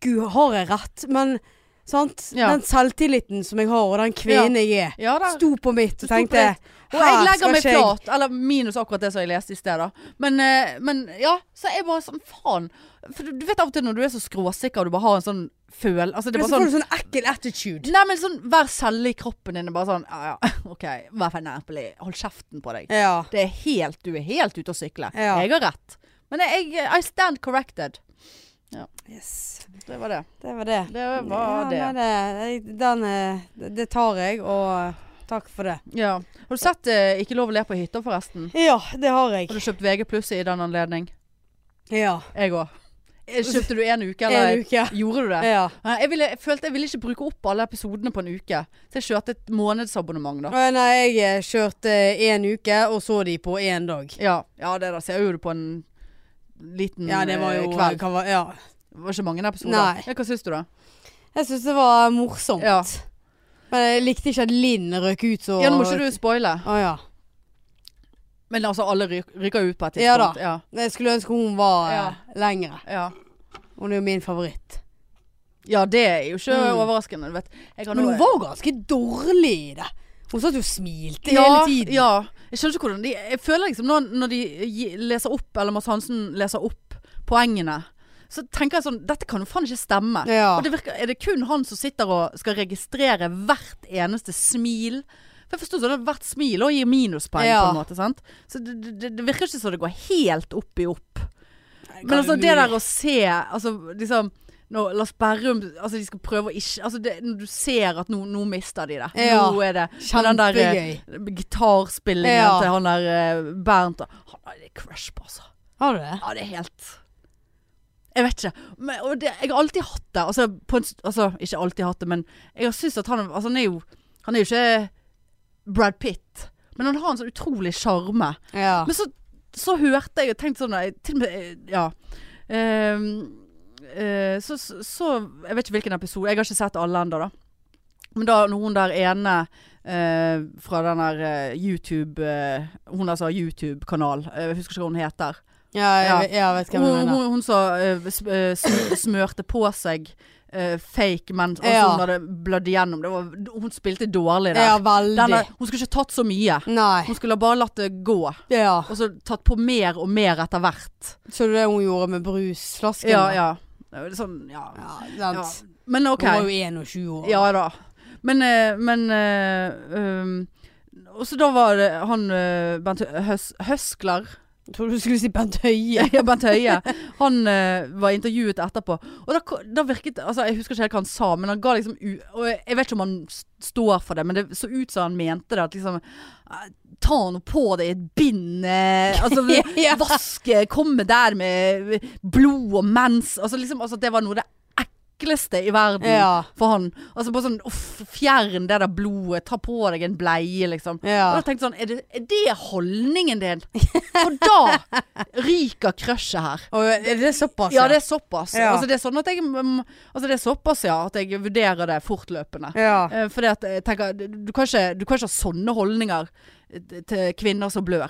S2: Gud, har jeg rett? Men sant?
S1: Ja.
S2: Den selvtilliten som jeg har, og den kvinnen jeg er,
S1: Ja da.
S2: sto på mitt og
S1: sto på
S2: tenkte
S1: ditt. Og jeg
S2: her
S1: legger
S2: skal
S1: meg
S2: ikke jeg-
S1: flat, eller minus akkurat det som jeg leste i sted, da. Men, eh, men ja, så er jeg bare sånn faen. For du, du vet av og til når du er så skråsikker og du bare har en sånn føl Altså det er bare
S2: Men så får
S1: sånn
S2: du sånn ekkel attitude.
S1: Nei, men sånn hver celle i kroppen din er bare sånn Ja ja, OK, vær fornærmelig. Hold kjeften på deg.
S2: Ja.
S1: Det er helt Du er helt ute å sykle.
S2: Ja.
S1: Jeg har rett. Men jeg, eh, I stand corrected.
S2: Yes.
S1: Det var det.
S2: Det var det.
S1: Det var det.
S2: Ja, nei, det, den, eh, det- det tar jeg, og takk for det.
S1: Ja. Har du sett eh, Ikke lov å le på hytta, forresten?
S2: Ja, det har jeg.
S1: Har du kjøpt VG pluss i den anledning?
S2: Ja.
S1: Jeg òg. Kjøpte du én uke, eller?
S2: En uke.
S1: Gjorde du det?
S2: Ja.
S1: Nei, Jeg, ville, jeg følte jeg ville ikke bruke opp alle episodene på en uke. Så jeg kjørte et månedsabonnement, da.
S2: Å, Nei, jeg eh, kjørte en uke, og så de på én dag.
S1: Ja, ja det da ser jeg jo det på en liten
S2: Ja, det var jo
S1: eh, kveld.
S2: kan være- ja.
S1: Det var ikke mange episoder.
S2: Nei.
S1: Ja, hva syns du, da?
S2: Jeg syns det var morsomt.
S1: Ja.
S2: Men jeg likte ikke at Linn røk ut så
S1: Ja, Nå må ikke du spoile.
S2: Å ja.
S1: Men altså, alle ryk- ryker ut på et
S2: Ja da.
S1: tidspunkt. Ja,
S2: Men Jeg skulle ønske hun var
S1: Ja.
S2: eh, lengre.
S1: ja.
S2: Hun er jo min favoritt.
S1: ja, det er jo ikke
S2: Mm.
S1: overraskende. du Vet. Jeg har
S2: Men
S1: nå-
S2: hun var jo ganske dårlig i det. Hun satt jo og smilte
S1: ja,
S2: hele tiden.
S1: Ja. Jeg skjønner ikke hvordan de Jeg føler liksom når, når de gi- leser opp, eller Mads Hansen leser opp poengene, så tenker jeg sånn Dette kan jo faen ikke stemme.
S2: Ja.
S1: Og det virker, er det kun han som sitter og skal registrere hvert eneste smil? For jeg forstår sånn at Hvert smil også gir minuspoeng
S2: Ja.
S1: på en måte. sant? Så det, det, det virker ikke som det går helt opp i opp.
S2: Nei,
S1: Men
S2: kan
S1: altså,
S2: du-
S1: det der å se altså, liksom, når Lars Berrum altså, De skal prøve å ikke altså, det, Når du ser at nå, nå mister de det.
S2: Ja.
S1: Nå er det men den der eh,
S2: Kjempegøy.
S1: gitarspillingen
S2: Ja.
S1: til han der eh, Bernt Han har litt crush på, altså.
S2: Har du det?
S1: Ja, det er helt Jeg vet ikke. Men, og det, jeg har alltid hatt det. Altså, på en, s- altså, ikke alltid hatt det, men jeg har syntes at han altså, han, er jo, han er jo ikke Brad Pitt, men han har en så utrolig sjarme.
S2: Ja.
S1: Men så, så hørte jeg og tenkte sånn jeg- Til og med eh, Ja. Ehm, eh, så, så, så Jeg vet ikke hvilken episode. Jeg har ikke sett alle ennå, da. Men da når hun der ene eh, fra den der eh, YouTube eh, Hun altså har YouTube-kanal. eh, jeg husker ikke hva hun heter.
S2: Ja, jeg,
S1: Ja.
S2: ja. jeg vet hva
S1: Hun,
S2: du mener.
S1: hun, hun som eh, sm- eh, sm- smørte på seg eh, fake mens altså,
S2: Ja.
S1: Hun hadde blødd igjennom. Det var, hun spilte dårlig der.
S2: Ja, veldig.
S1: Denne, hun skulle ikke tatt så mye.
S2: Nei.
S1: Hun skulle bare latt det gå.
S2: Ja.
S1: Og så tatt på mer og mer etter hvert.
S2: Så det hun gjorde med brusflasken?
S1: Ja,
S2: da?
S1: ja. Det er jo Sånn, ja.
S2: Ja,
S1: ja.
S2: sant.
S1: Men OK.
S2: Hun var jo 21 år.
S1: Ja da. Men, eh, men eh, um, Og så da var det han eh, Bent Hø- Høs Høskler
S2: Jeg trodde du skulle si Bent Høie.
S1: Ja, Bent Høie. Han eh, var intervjuet etterpå. Og da, ko- da virket altså Jeg husker ikke helt hva han sa, men han ga liksom u Og jeg jeg vet ikke om han s- står for det, men det så ut som han mente det. At liksom eh, Ta nå på deg et bind. eh, Altså,
S2: Ja.
S1: vaske, komme der med blod og mens. Altså liksom altså, Det var noe av det ekleste i verden
S2: Ja.
S1: for han. Altså bare sånn uff, Fjern det der blodet. Ta på deg en bleie, liksom.
S2: Ja.
S1: Og da tenkte jeg sånn, er det, er det holdningen din? For da ryker crushet her.
S2: Og er det såpass?
S1: Ja, det er såpass.
S2: Ja.
S1: Altså, det er sånn at jeg, mm, altså, det er såpass, ja, at jeg vurderer det fortløpende.
S2: ja.
S1: Eh, Fordi at jeg tenker, du kan, ikke, du kan ikke ha sånne holdninger eh, til kvinner som blør.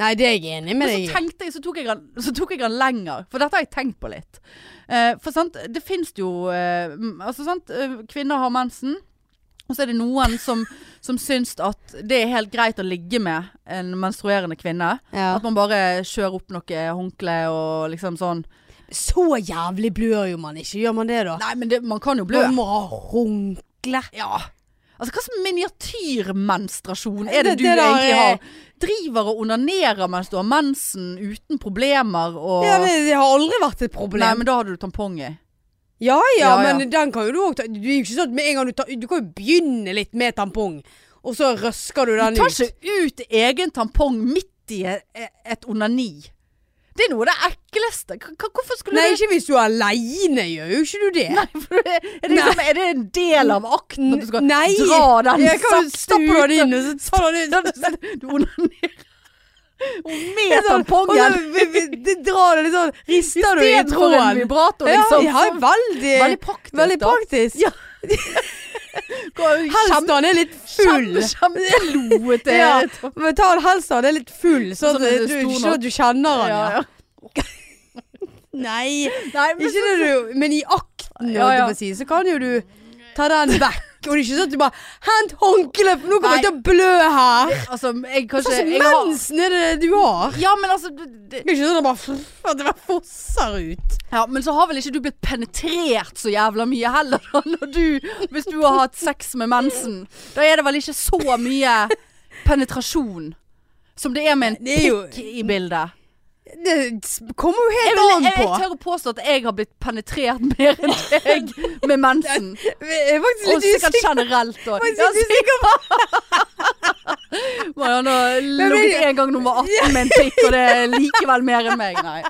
S2: Nei, det er jeg enig med
S1: Men så
S2: deg i.
S1: tenkte jeg, så tok jeg, han, så tok jeg han lenger, for dette har jeg tenkt på litt. Eh, for sant, det finnes jo eh, m- altså, sant, eh, Kvinner har mensen, og så er det noen som, som syns at det er helt greit å ligge med en menstruerende kvinne.
S2: Ja.
S1: At man bare kjører opp noe håndkle og liksom sånn.
S2: Så jævlig blør jo man ikke, gjør man det da?
S1: Nei, men det, man kan jo blø.
S2: Man må ha håndkle.
S1: Ja. Altså, hva slags miniatyrmenstruasjon er det,
S2: Det-
S1: du
S2: det der
S1: egentlig
S2: er-
S1: har? Driver og onanerer mens du har mensen uten problemer og
S2: Ja, det, det har aldri vært et
S1: Nei,
S2: problem.
S1: men da hadde du tampong i.
S2: ja, ja,
S1: Ja, ja.
S2: men den kan jo du òg ta. Du er jo ikke sånn at med en gang du tar Du kan jo begynne litt med tampong, og så røsker du den
S1: Du tar
S2: ut.
S1: ikke ut egen tampong midt i et, et onani. Det er noe av det ekleste. Hva- hva- Hvorfor skulle
S2: Nei,
S1: du
S2: ikke hvis du er aleine, gjør jo ikke du det.
S1: Nei, for det- er, det liksom, er det en del av akten at du skal
S2: Nei!
S1: dra den
S2: Jeg kan jo
S1: sakte
S2: stappe
S1: ut?
S2: den inn, og så tar du den ut.
S1: Du onanerer Og med
S2: Sånn, og
S1: tampongen.
S2: så vi- vi- det Drar det litt sånn Rister du i
S1: Istedenfor en
S2: tråden.
S1: vibrator, liksom.
S2: Ja, ja, veldig,
S1: Veldig praktisk.
S2: veldig
S1: da.
S2: praktisk.
S1: Ja. Går-
S2: Helst når han er litt full.
S1: Kjempe, kjempeloete.
S2: Ja, men ta den helst når han er litt full, sånn
S1: Sånn at
S2: at
S1: det
S2: du
S1: er stor
S2: ikke
S1: nok.
S2: at du kjenner han.
S1: Ja,
S2: Ja.
S1: ja.
S2: Nei,
S1: Nei, men
S2: ikke det du Men i akten,
S1: Ja,
S2: holdt jeg
S1: ja.
S2: på å si, så kan jo du ta den vekk. Og det er ikke sånn at du bare Hent håndkleet, for nå kommer jeg til å blø her.
S1: altså, jeg
S2: Hva
S1: kanskje
S2: slags
S1: jeg har-
S2: mensen er det du har?
S1: Ja, men altså det- det-
S2: Det er ikke sånn at det bare, at det bare fosser ut.
S1: Ja, men så har vel ikke du blitt penetrert så jævla mye heller da, når du, hvis du har hatt sex med mensen. Da er det vel ikke så mye penetrasjon som det er med en
S2: Det er jo
S1: pikk i bildet.
S2: Det kommer jo
S1: Jeg,
S2: helt
S1: vil,
S2: an
S1: jeg,
S2: på.
S1: jeg tør å påstå at jeg har blitt penetrert mer enn deg med mensen.
S2: Jeg er faktisk
S1: Og
S2: litt
S1: sikkert
S2: usikker.
S1: generelt òg.
S2: Faktisk
S1: Ja,
S2: litt
S1: Marianne har
S2: Men det-
S1: ligget en gang nummer 18 med en pikk, og det er likevel mer enn meg. Nei.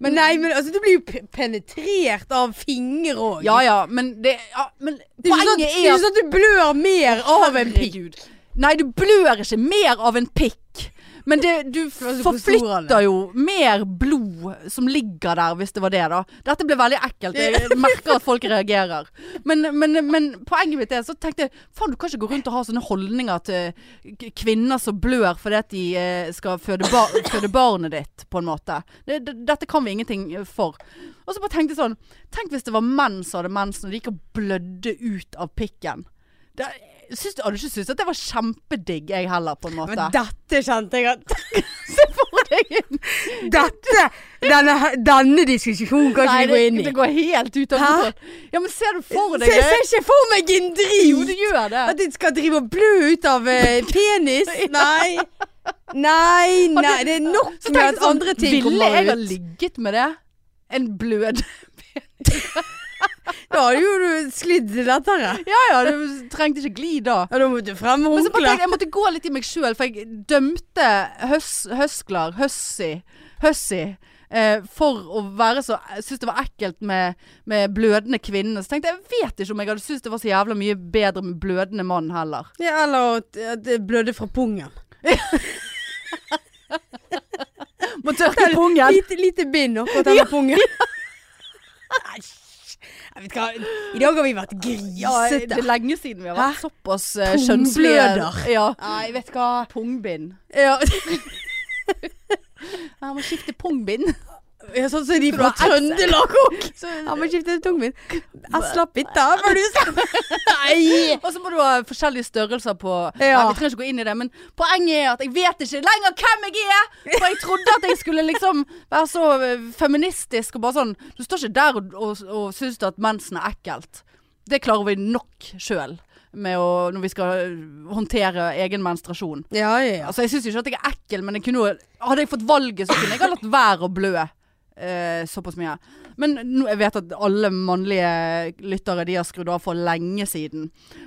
S2: Men nei, men altså, du blir jo pe- penetrert av fingre òg.
S1: Ja ja, men det ja, men
S2: det er jo sånn,
S1: Poenget
S2: at- det er
S1: er
S2: jo
S1: at
S2: sånn at du blør mer av en pikk.
S1: Herregud. Nei, du blør ikke mer av en pikk. Men det, du
S2: var så på stor,
S1: forflytter
S2: Anne.
S1: jo mer blod som ligger der, hvis det var det, da. Dette ble veldig ekkelt. Jeg merker at folk reagerer. Men, men, men poenget mitt er så tenkte jeg faen, du kan ikke gå rundt og ha sånne holdninger til k- kvinner som blør fordi at de eh, skal føde, bar føde barnet ditt, på en måte. Det, det, dette kan vi ingenting for. Og så bare tenkte jeg sånn Tenk hvis det var menn som hadde mensen, og de gikk og blødde ut av pikken. Det, jeg syns- jeg hadde ikke syntes at det var kjempedigg, jeg heller, på en måte.
S2: Men dette kjente jeg at
S1: for deg inn.
S2: Dette! Denne, denne diskusjonen kan ikke
S1: Nei,
S2: vi gå inn
S1: Det
S2: i.
S1: går helt ut av
S2: Hæ?
S1: kontroll. Ja, men ser du for deg
S2: Se,
S1: det?
S2: ser ikke for meg en
S1: Jo,
S2: driv!
S1: det gjør det.
S2: At du skal drive og blø ut av eh, penis. Nei. Nei, nei. Det er nok
S1: Så tenkte
S2: med
S1: jeg
S2: at
S1: sånn,
S2: andre ting
S1: Ville jeg
S2: kommer
S1: ha
S2: ut.
S1: ligget med det? En blød
S2: Da hadde jo du sklidd lettere.
S1: Ja ja, du trengte ikke gli da.
S2: Ja, da måtte du fremme
S1: Men så bare tenkte
S2: håndkleet.
S1: jeg jeg måtte gå litt i meg sjøl, for jeg dømte høs, Høsklar, Høssi, Høssi eh, for å være så Jeg syntes det var ekkelt med, med blødende kvinner. Så tenkte jeg jeg vet ikke om jeg hadde syntes det var så jævla mye bedre med blødende mann heller.
S2: Ja, eller at at det blødde fra pungen.
S1: Må tørke pungen.
S2: Lite, lite bind oppå denne pungen. Æsj. Jeg vet hva, I dag har vi vært
S1: Ja, det
S2: grisete.
S1: er lenge siden vi har vært såpass uh,
S2: Pungbløder.
S1: kjønnslige. Ja.
S2: Nei, vet du hva.
S1: Pungbind.
S2: Ja.
S1: Jeg må skifte pungbind.
S2: Ja, sånn som de
S1: Skal du
S2: fra
S1: ha Excel?
S2: Trøndelag òg.
S1: Så,
S2: Han må skifte tungen min. Jeg slapp ikke av, hva du sa. Nei!
S1: og så må du ha forskjellige størrelser på ja.
S2: Ja.
S1: Vi trenger ikke gå inn i det, men poenget er at jeg vet ikke lenger hvem jeg er! For jeg trodde at jeg skulle liksom være så eh, feministisk og bare sånn Du står ikke der og, og, og syns at mensen er ekkelt. Det klarer vi nok sjøl når vi skal eh, håndtere egen menstruasjon.
S2: Ja, ja, ja.
S1: Altså, jeg syns ikke at jeg er ekkel, men jeg kunne, jo- hadde jeg fått valget, så kunne jeg ha latt være å blø. eh, såpass mye. Men nå, jeg vet at alle mannlige lyttere de har skrudd av for lenge siden.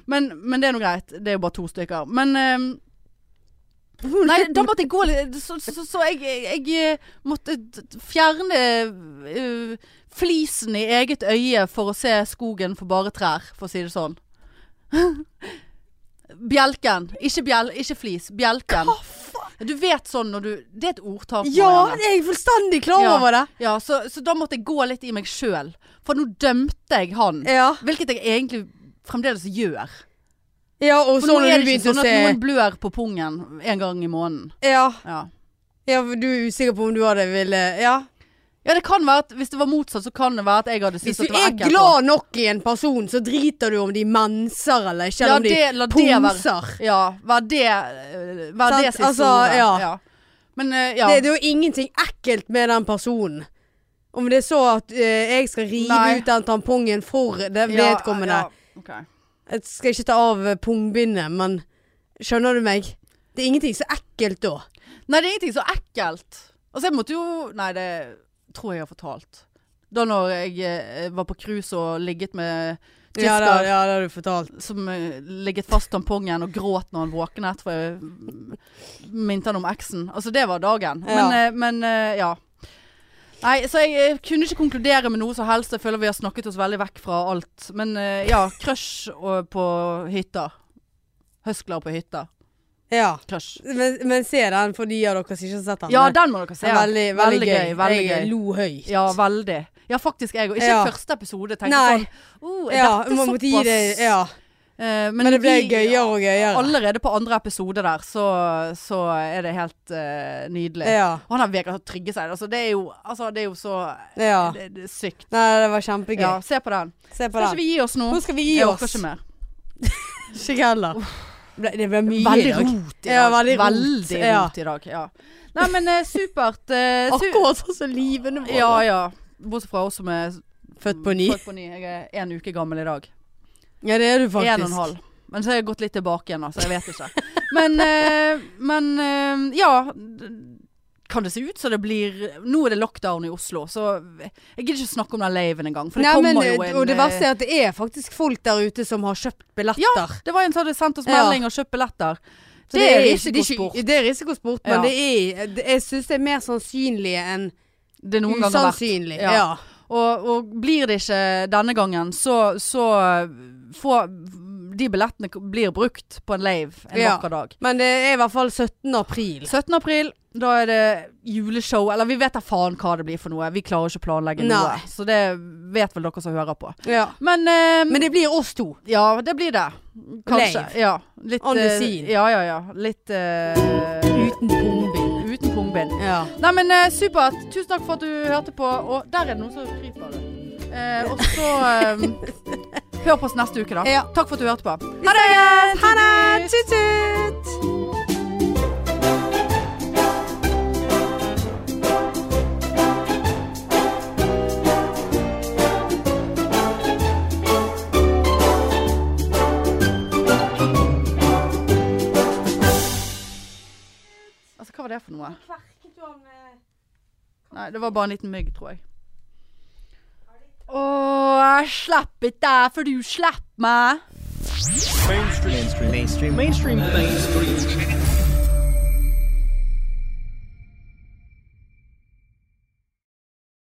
S1: Men, men det er nå greit. Det er jo bare to stykker. Men eh, Nei, da måtte jeg gå litt Så, så, så jeg, jeg, jeg måtte t- fjerne eh, flisen i eget øye for å se skogen for bare trær, for å si det sånn. Bjelken. Ikke, bjel, ikke flis. Bjelken.
S2: Hva faen?
S1: Du vet sånn når du Det er et ordtak.
S2: Ja,
S1: Marianne.
S2: jeg er fullstendig klar
S1: Ja.
S2: over det.
S1: ja så, så da måtte jeg gå litt i meg sjøl. For nå dømte jeg han.
S2: Ja,
S1: Hvilket jeg egentlig fremdeles gjør.
S2: ja og
S1: For
S2: så
S1: nå
S2: når
S1: er
S2: du
S1: det ikke
S2: begynte å
S1: sånn at
S2: se
S1: noen blør på pungen en gang i måneden.
S2: Ja,
S1: Ja.
S2: ja for du er usikker på om du hadde ville Ja.
S1: Ja, det kan være at hvis det var motsatt, så kan det være at jeg hadde
S2: Hvis
S1: syntes
S2: du
S1: at det var
S2: er
S1: ekkelt.
S2: glad nok i en person, så driter du om de menser eller ikke, eller
S1: Ja,
S2: om de
S1: det- la det
S2: pomser. Det,
S1: Ja, vær det, eh, vær
S2: Sant,
S1: det siste
S2: altså,
S1: ordet.
S2: ja.
S1: Men eh, ja.
S2: det, er jo ingenting ekkelt med den personen. Om det er så at eh, jeg skal rive
S1: Nei.
S2: ut den tampongen for det
S1: ja,
S2: vedkommende.
S1: Ja, ok.
S2: Jeg skal ikke ta av eh, pungbindet, men skjønner du meg? Det er ingenting så ekkelt da.
S1: Nei, det er ingenting så ekkelt. Altså, jeg måtte jo Nei, det tror jeg jeg har fortalt. Da når jeg eh, var på cruise og ligget med tysker
S2: Ja, det, ja, det har du fortalt.
S1: som eh, ligget fast tampongen og gråt når han våknet, for jeg mm, minte han om eksen. Altså, det var dagen.
S2: Ja.
S1: Men, eh, men eh, ja. Nei, så jeg eh, kunne ikke konkludere med noe som helst. Jeg føler vi har snakket oss veldig vekk fra alt. Men eh, ja, crush og- på hytta. Høskler på hytta.
S2: Ja.
S1: Crush.
S2: Men, men se den for de av dere som ikke har sett den.
S1: Ja,
S2: den
S1: den må dere se.
S2: er veldig, veldig, gøy.
S1: veldig
S2: jeg
S1: gøy.
S2: lo høyt.
S1: Ja, veldig. Ja, faktisk jeg òg. Ikke
S2: Ja.
S1: første episode. Tenkte
S2: Nei.
S1: sånn oh, er
S2: ja,
S1: dette
S2: man måtte gi det
S1: såpass?»
S2: Ja.
S1: Eh,
S2: Men, det ble
S1: vi-
S2: gøyere og gøyere.
S1: Allerede på andre episode der, så, så er det helt eh, nydelig.
S2: Ja.
S1: Og han har Vegard Trygge seg. Altså, det, er jo, altså, det er jo så
S2: ja.
S1: det, det er sykt.
S2: Nei, det var kjempegøy.
S1: Ja, se på den.
S2: Se på
S1: Skal
S2: den.
S1: ikke vi gi oss nå?
S2: Nå skal vi gi
S1: Jeg
S2: oss.
S1: orker ikke mer.
S2: Ikke jeg heller. Ble- Det ble mye i
S1: Veldig
S2: dag.
S1: rot i dag.
S2: Ja, veldig rot.
S1: Veldig
S2: Ja.
S1: rot i dag. Ja. Nei, men eh, supert. eh, su-
S2: Akkurat sånn som livene våre.
S1: Ja, ja. Bortsett fra oss som er
S2: Født på ny.
S1: Født på ny. Jeg er én uke gammel i dag.
S2: Ja, det er du faktisk.
S1: En og en halv. Men så har jeg gått litt tilbake igjen, altså. Jeg vet ikke. Men, eh, men eh, ja. d- Kan det se ut som det blir Nå er det lockdown i Oslo, så jeg gidder ikke snakke om den laven engang. For det
S2: Nei, men,
S1: kommer jo en
S2: og
S1: eh,
S2: det verste er at det er faktisk folk der ute som har kjøpt billetter.
S1: Det var en som hadde sendt oss
S2: Ja.
S1: melding og kjøpt billetter.
S2: Så
S1: Det er
S2: ikke- det
S1: risikosport.
S2: ikke- Det er risikosport, men
S1: Ja.
S2: det er, det, jeg syns det er mer sannsynlig enn
S1: Det er noen ganger verdt.
S2: usannsynlig.
S1: Ja.
S2: Ja.
S1: Og, og blir det ikke denne gangen, så, så får De billettene k- blir brukt på en lave en
S2: Ja.
S1: vakker dag.
S2: Men det er i hvert fall 17. april.
S1: 17. april, da er det juleshow. Eller vi vet da faen hva det blir for noe. Vi klarer ikke å planlegge
S2: Nei.
S1: noe. Så det vet vel dere som hører på.
S2: Ja.
S1: Men, eh,
S2: Men det blir oss to.
S1: ja, det blir det. Kanskje.
S2: Live.
S1: Ja, litt,
S2: On the
S1: eh,
S2: scene.
S1: Ja, ja, ja. Litt eh,
S2: Uten bombind.
S1: uten pungbind.
S2: Ja.
S1: Nei, men eh, supert. Tusen takk for at du hørte på. Og der er det noen som kryper. Eh, og så eh, Hør på oss neste uke, da.
S2: Ja.
S1: Takk for at du hørte på.
S2: Ha det! Ha det! Tut-tut!
S1: Altså, hva var det for noe? Nei, det var bare en liten mygg, tror jeg. Å, slapp ikke der, for du slapp meg.
S3: Mainstream. Mainstream. Mainstream. Mainstream.